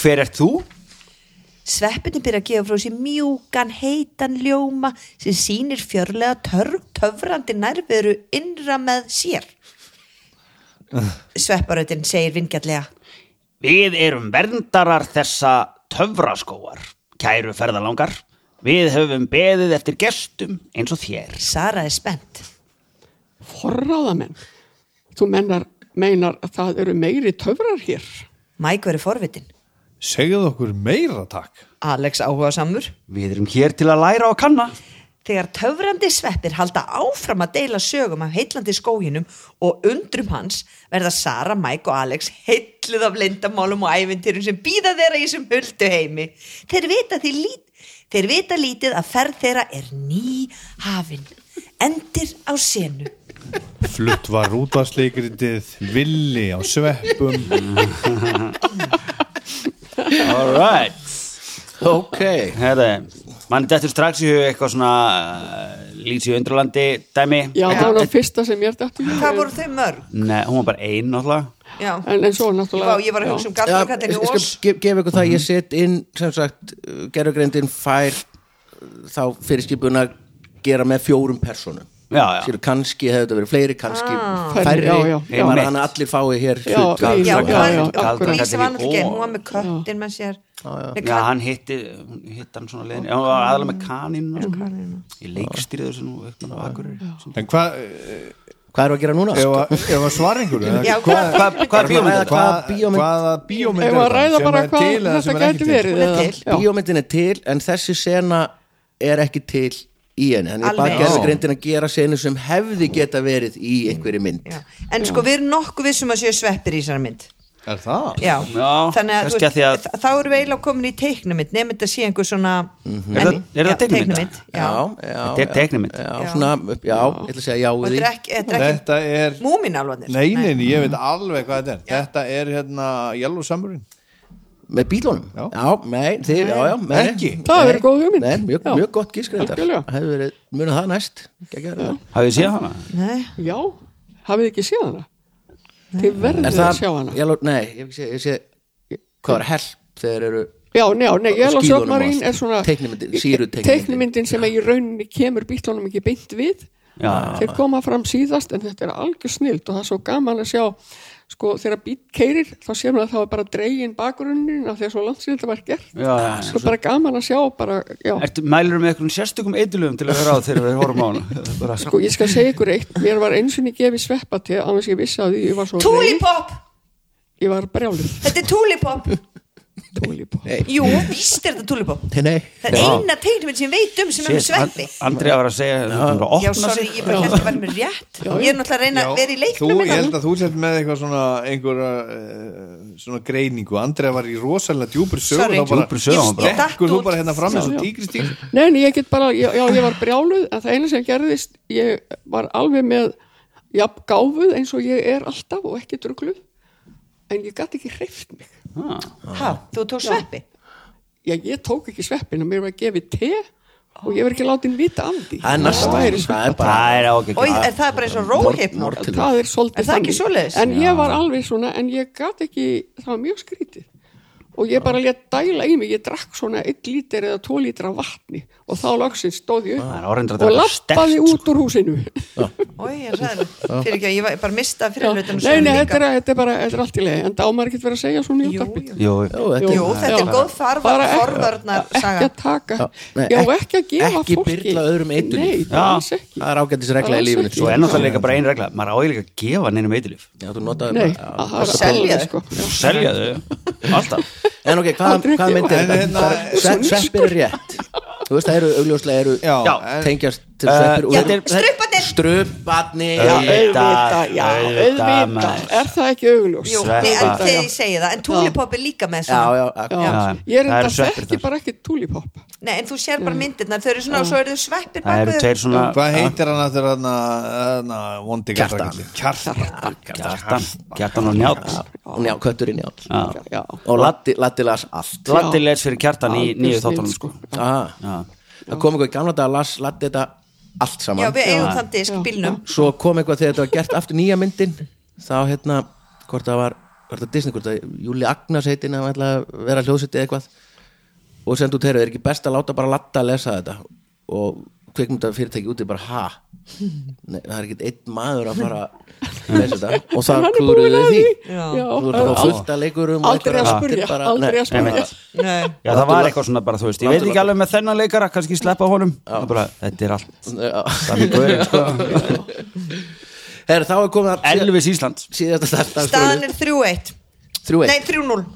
Hver ert þú?
Sveppinni byrja að gefa frá sér mjúkan, heitan ljóma sem sýnir fjörlega törf, töfrandi nærveru innra með sér. Svepparöðin segir vingjallega.
Við erum verndarar þessa töfraskóar, kæru ferðalangar. Við höfum beðið eftir gestum eins og þér.
Sara er spennt.
Forráðamenn. Þú mennar, meinar að það eru meiri töfrar hér.
Mæk verður forvitin.
Segðu okkur meira takk
Alex áhuga samur.
Við erum hér til að læra og kanna.
Þegar töfrandi sveppir halda áfram að deila sögum af heitlandi skóginum og undrum hans verða Sara, Mike og Alex heitluð af lindamálum og ævintýrum sem býða þeirra í þessum huldu heimi. Þeir vita, því lít, þeir vita lítið að ferð þeirra er ný hafin. Endir á senu.
Flutt var út á sleikritið Villi á sveppum
All right.
Ok,
Herre, mann dettur strax í hug eitthvað svona uh, lýsi undralandi dæmi.
Já, það var það fyrsta sem ég er dætt í.
Hvað voru þau mörg?
Nei, hún var bara einn náttúrulega.
Já.
En, en svo
Vá,
náttúrulega...
ég var að hugsa um
Já,
galdrakallinni
ég
Ós.
skal gef- gefa ykkur það
Mhm.
ég set inn sem sagt gerugreindin fær uh, þá fyrirskipun að gera með fjórum personum
Já, já.
Skilur, kannski hefur þetta verið fleiri kannski
Ah.
Færri,
færri,
já, já, já.
bara þannig að allir fái hér
Já,
hlut
já,
Já, hún var-
já,
hún
akkurat.
Lísa var náttúrulega ekki,
Ó.
hún var með köttin með sér. Með
Já,
katt-
hann hitti, hún hitti hann svona leiðin. Já, hún var aðalega með kaninu. Sko. Ég leikstýrði þessu nú eitthvað á akkurir.
En hvað
Hvað erum við að gera núna? Sko,
Ef að- ef að svara einhverju eða
Já, hvað-
hvað- hvað
Erum við að ræða
bíómynd?
hvaða bíómynd?
hvaða bíómynd
Ef að
er það
ræða
sem
bara
er
hvað
til eða sem
þetta
er
gæti
ekki til?
verið
Hún er
eða-
til.
já.
Bíómyndin er til en þessi sena er ekki til í henni Þannig er bara
Alveg.
gerði greindin að gera senu sem hefði geta verið í einhverju mynd
Já. En sko við erum nokkuð vissum að séu sveppir í þessari mynd
er það?
Já,
Já,
þannig að, þú
kannski
veist,
að því að-
þa- þá erum við eiginlega komin í teiknumitt nefnir þetta sé einhver svona
Er það- er það
Já,
teiknumynd?
Já,
já,
Þetta er teiknimynd.
Já, svona, já, ég ætla að segja já
og
við því
þetta er ekki, þetta er ekki
þetta er
múmin alvanir
Nei, nei, nei, ég veit alveg hvað þetta er Þetta er hérna Yellow Submarine
Með bílunum?
Já.
Já, nei, þið, já, já nei.
Ekki.
Það hefur
Nei.
verið góð hugmynd.
Nei, mjög,
Já.
mjög gott gískreindar
Algjörlega.
Hefur verið, munið það næst Gekkjaður það.
Hafið séð hana?
Nei.
Já, hafið þið ekki séð hana? Þið
Er
verður að
það,
sjá hana.
ég, alveg- nei, ég hef ekki sé, ég sé Hvað er help þegar eru
Já, njá, nei, Yellow
skíðunum
Submarine
og allt.
er svona
Teiknimyndin, síruteiknimyndin.
teiknimyndin sem að í rauninni kemur bílunum ekki beint við
Já,
Ah.
þeir koma fram síðast en þetta er algjör snilt og það er svo gaman að sjá sko þegar bíl keirir þá sér maður að það var bara dregin bakgrunnin af því að svo langt síðan þetta var gert
já, já
svo bara gaman að sjá bara, já,
Ertu mælur með einhverjum sérstökum eitilöfum til að vera á þegar við horfum á hana? Bara,
sko ég skal segja ykkur eitt mér var eins og niður gefið sveppa til annars ég vissi að því ég var svo reið,
Tulipop,
ég var brjálið
þetta er tulipop
Tólipop.
Jú, víst er þetta tulipop
Nei, nei
Það er eina teiknumitt sem ég veit um sem er með
Shit, An-
sveppi
Andri var að segja að hún var að
Já,
opna
sorry,
sig
ég bara held að vera með rétt Ég er náttúrulega að reyna að vera í
þú,
leiknum
ég
innan.
held að þú sett með eitthvað svona einhverja uh, svona greiningu Andrea var í rosalega djúpur sögur
Sorry.
þá bara,
Djúpri sögu, hann bara-
Ég datt
Stekkur þú
út.
bara hérna fram eins
Já.
og tígri stíl
nei, nei, ég get bara, já, já, ég var brjáluð en það eina sem gerðist, ég var alveg með, jafn gáfuð eins og ég er alltaf og ekki drugluð en ég gat ekki hreift mig
Ah,
Ha, Þú tók sveppi
já, ég tók ekki sveppin og mér var að gefa te og ég var ekki látið vita af því
Það er næst
Það væri svo-
Það er bara
Það er ágækja
Og er það bara eins og róhypnó
Mor- mor-
það er
Er
svolítið
það ekki svoleiðis?
en ég var alveg svona, en ég gat ekki það var mjög skrítið og ég bara létt dæla í mig, ég drakk svona 1 lítir eða 2 lítir af vatni og þá lagsins stóð ég
Það er
upp
orðindra að
og
drekka
lappaði
sterkt,
út úr húsinu
Ói, ég er sæðileg Fyrir ekki að ég var- bara mista
Já.
fyrir hlutum
nei, nei, þetta er, þetta er bara þetta er allt í leið, en dámar ekkert verið að segja svona í
Jú,
útarpi
jú.
Jú,
Jú, þetta
Jú, þetta er
Já.
góð farvar,
Bara ekki- e-
forvarnar
ekki
saga
að taka,
nei,
já,
ekki-
ekki að gefa
ekki
fólki
byrla öðrum eitur.
nei,
Já.
alls ekki
Það er ágættis regla í
Alls
lífinu
ekki.
svo er náttúrulega líka bara ein regla Maður á eiginlega að gefa neinum eitilöf
Já, þú notaði
Nei,
bara-
að það er
Selja
alveg,
þau.
sko.
Selja þau Alltaf
En ok, hvað,
Aldrei
hvað
ekki.
myndir
En hérna-
þetta? Svepp- Sveppir er rétt Þú veist, það eru augljóslega eru
Já, en-
tengjast til
Eh,
sveppir og
já,
eru-
struparnir.
Struparnir
Já,
Auðvitað,
auðvitað, já,
auðvitað,
auðvitað,
maður.
er það ekki augljós?
Jú,
Sveppa.
nei, en
Auðvitað,
þegar
já.
ég segi það En tulipop er líka með
Já,
svona
já,
Já,
já.
Já,
ég er
það eru
enda
sveppir
þekki
þar.
bara ekki tulipop
Nei, en þú sér bara myndirnar Þau eru svona og svo eru þau sveppir
Það eru
bakvið
tveir svona
Hvað heitir hann aftur hann að vondi
Kjartan.
Kjartan
Kjartan, Kjartan og Njátt
Hún já, kötturinn já
Já,
Og Latti, Latti las allt
Latti les fyrir Kjartan í
Algjör
nýju
snill,
þáttunum
sko.
sko.
ah, Það kom eitthvað í gamla dag að las Latti þetta allt saman
Já, við eigum þann disk í bílnum
Svo kom eitthvað þegar þetta var gert aftur nýja myndin Þá hérna, hvort það var Hvort það Disney, hvort það Júli Agnars heitin Það ætla að vera hljóðsetti eitthvað Og sem þú teirðu, er ekki best að láta bara Latta að lesa þetta Og kveikmynda fyrirtæki úti bara ha Nei, það er ekkert einn maður að fara að lesa þetta Og það klúruðu því
Já.
Þú ert þá fullt að leikurum og
Aldrei að
einhverjar
spurja,
allir bara-
aldrei
Nei,
að spurja
einmitt.
Nei.
Já, það var eitthvað svona bara, þú veist Ég veit ekki alveg með þennan leikara, kannski sleppa honum Það er bara, Þetta er allt
Já.
sami gaurinn, sko.
Herra, þá er komið að
Elvis Ísland
síðasta starfstofið.
Staðan er 3-1
Þrjú
Nei,
eitt
3-0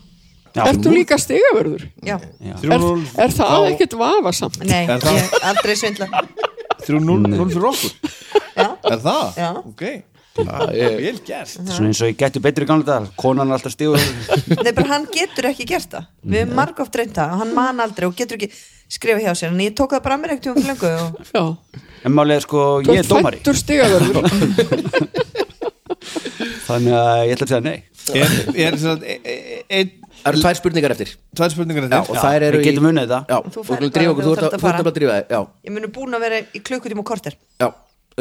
Já,
Ertu líka stigavörður?
Já,
Er, er það ekkert vafasamt?
nei,
Er það-
ég aldrei svindla
3-0 fyrir okkur
Já,
Er það?
Já.
Ok Vel gert
Svona eins og ég getur betri í gamla dagar Konan er alltaf stíður
Nei, bara hann getur ekki gert það Við hefum margóft reynd það og hann man aldrei og getur ekki skrifa hjá sér en ég tók það bara að mér ekkert um flöngu og
Já,
En málega sko,
þú
ég er
ert
dómari
fættur stigavörður
Þannig að ég ætla að segja nei
Er, er sem sagt, e- e- e- einn
Það eru tvær spurningar eftir
Tvær spurningar
Já,
eftir
og þær
við
eru
getum unnið þetta.
Já,
Þú
þú fyrir að
ferð bara
drífa okkur, þú
þegar
ert
þú
að-
þarft að
þú ert
fara.
að drífa þig Já,
ég munum búin að vera í klukkutíma og korter
já,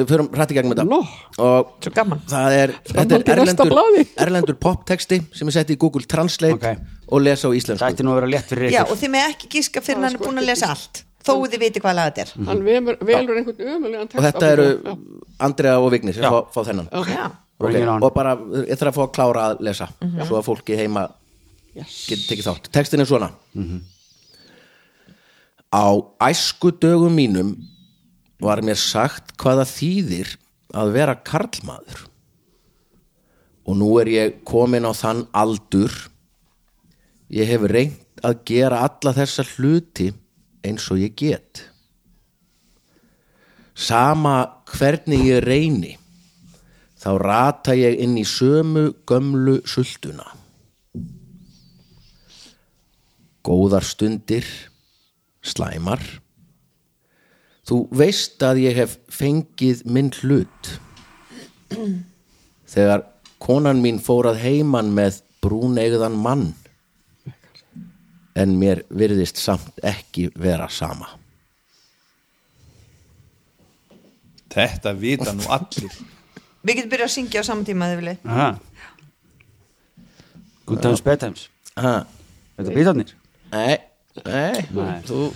við förum hrætt í gegnum þetta
Nó.
Og
Svo gaman
það er, þetta
Framhald í
er
næsta
erlendur,
blaði.
erlendur poptexti sem er sett í Google Translate
Ok.
og lesa á
Það
íslensku
ætti nú að vera létt fyrir
Já,
ykkur
og þið með ekki gíska fyrir hann er búin að lesa allt þó þið viti hvað laga þetta
Hann velur, velur einhvern ömulegan text
Og þetta
á
eru
því.
Andrea og Vignir sem
Já.
fá, fá þennan
er Já,
Ok,
Bring it on. Mhm.
Og bara, ég þarf að fá að klára að lesa Svo að fólki heima getur tekið þátt Textin er svona Á æsku dögum mínum var mér sagt hvaða þýðir að vera karlmaður og nú er ég komin á þann aldur ég hef reynt að gera alla þessa hluti eins og ég get sama hvernig ég reyni þá rata ég inn í sömu gömlu sultuna góðar stundir slæmar þú veist að ég hef fengið minn hlut þegar konan mín fór að heiman með brúneigðan mann en mér virðist samt ekki vera sama
Þetta vita nú allir
Við getum byrjað að syngja á saman tíma ef þið vilja
Aha. Good times, bad times
ha,
Þetta býtarnir
nei, nei, þú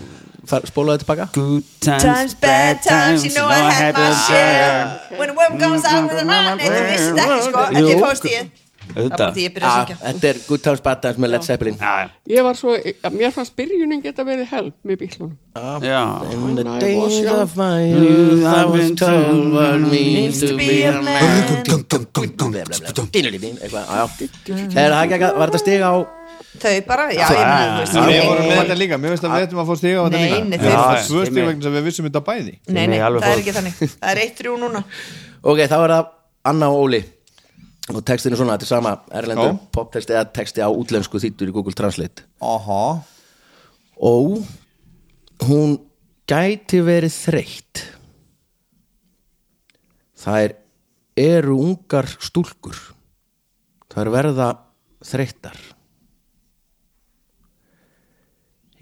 far, spólaði tilbaka
Good
Times, bad times, you know I had my share When the worm comes out with a run Nei, þú vissir þetta ekki sko, en
Jú.
ég fóðst í Það er bara
Auðvitað
því ég byrja að
Ah,
syngja
þetta er Good Times Bad Times með Led Zeppelin
Ah,
Já, já.
Ég var svo, mér fannst byrjunin geta verið help með bílunum.
Já
In the
When I was
days
young.
of my youth I
I've
was
been
told what it means
Means
to be a man Eitthvað, á, já Er það ekki að, var þetta stig á
Þau bara, já, ég meina, þú
ah, Við vorum með
veist
þetta líka, mér veist að við ættum að fá stiga á þetta
Nei,
líka
nei,
Við
þeir-
erum að
Já,
svö
ég
stiga
meina-
vegna sem við vissum þetta bæði
Nei, nei,
Nei, alveg
það er
fór.
ekki þannig Það er eitt þrjú núna
Ok, þá er það Anna og Óli og textin er svona, þetta er sama erlendur
Já.
poptexti eða texti á útlensku þýttur í Google Translate
Aha,
og hún gæti verið þreytt þær eru ungar stúlkur þær verða þreyttar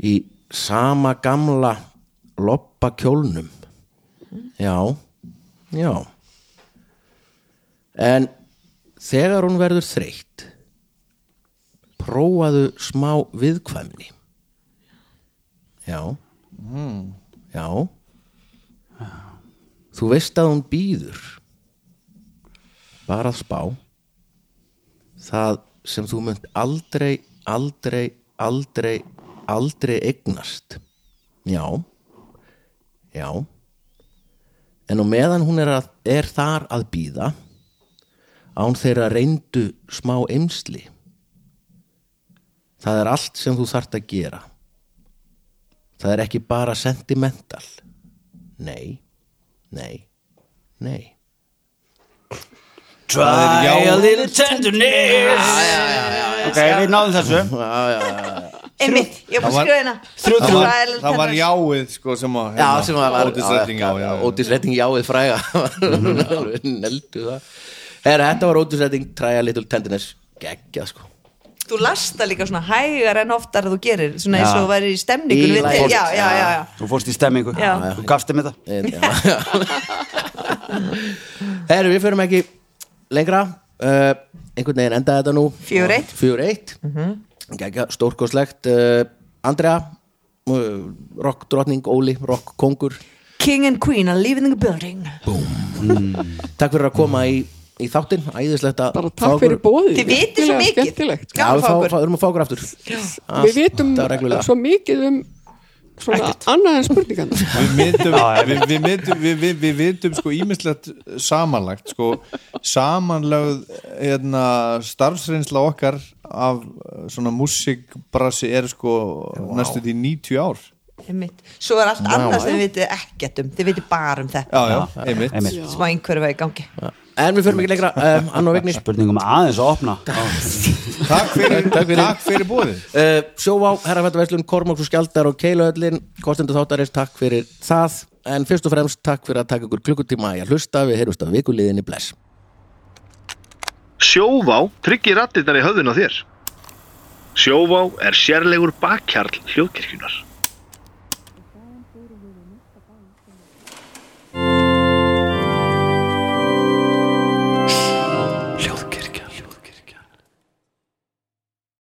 í sama gamla loppa kjólnum já já en þegar hún verður þreytt prófaðu smá viðkvæmni Já Já Þú veist að hún býður Bara að spá Það sem þú munt aldrei, aldrei, aldrei, aldrei eignast Já Já En á meðan hún er, að, er þar að býða án þeirra reyndu smá eimsli Það er allt sem þú þart að gera Það er ekki bara sentimental. Nei, nei, nei.
Try a little tenderness
Ah,
Ok, við náðum þessu
Einmitt, ég búið að
var-
skrifa hérna
það var, það
Trial
var
Tenderness.
jáið sko sem að
Já, sem að var
Ótis Redding á, já, já.
Ótis Redding jáið fræga. Alveg neldu það. Herra, þetta var Ótis Redding, try a little tenderness. Gekkja, sko.
Þú lasta líka svona hægar en oftar þú gerir Svona eins og þú væri í stemningun
Í
við
lagi.
þig Já, já, já, já
Þú fórst í stemmingu
Já.
Þú gafst þeim þetta
En, já. Herra, við förum ekki lengra. Uh, einhvern veginn endaði þetta nú.
4-1.
4-1. Gekkja, stórkoslegt. Uh, Andrea, uh, rock drottning, Óli, rock kongur.
King and Queen are leaving the building
Takk fyrir að koma í, í þáttinn Æðislegt að
Bara
fá
takk
okkur-
fyrir bóðið.
Þið vitið svo
Virkilega
mikið.
Skemmtilegt.
Já, við
Gaman að fá
fá-
okkur.
fá- erum að fá okkur aftur
Við vitum
Alltaf reglulega.
svo mikið um svona annað en spurningan.
Við myndum,
Já, já.
við, við, myndum við, við, við myndum sko ímislegt samanlagt sko, samanlögð hérna, starfsreynsla okkar af eh, svona músikbrassi er sko næstu því 90 ár
Einmitt. Svo er allt annað sem þið vitið ekkert um Þið vitið bara um þetta
Já, já, einmitt
Einmitt.
Smá einhverju var í gangi
En við förum ekki lengra um, Anna og Vigni
Spurningum aðeins að opna
Takk fyrir, takk fyrir bóðið
uh, Sjóvá, Herrafættaverslun, Kormáks og Skjaldar og Keilöðlin Kostendur þáttarins, takk fyrir það En fyrst og fremst takk fyrir að taka ykkur klukkutíma í að hlusta Við heyrjumst að vikuliðinni bless
Sjóvá tryggir rattirnar í höfðun á þér. Sjóvá er sérlegur bakkjarl hljóðkirkjunar.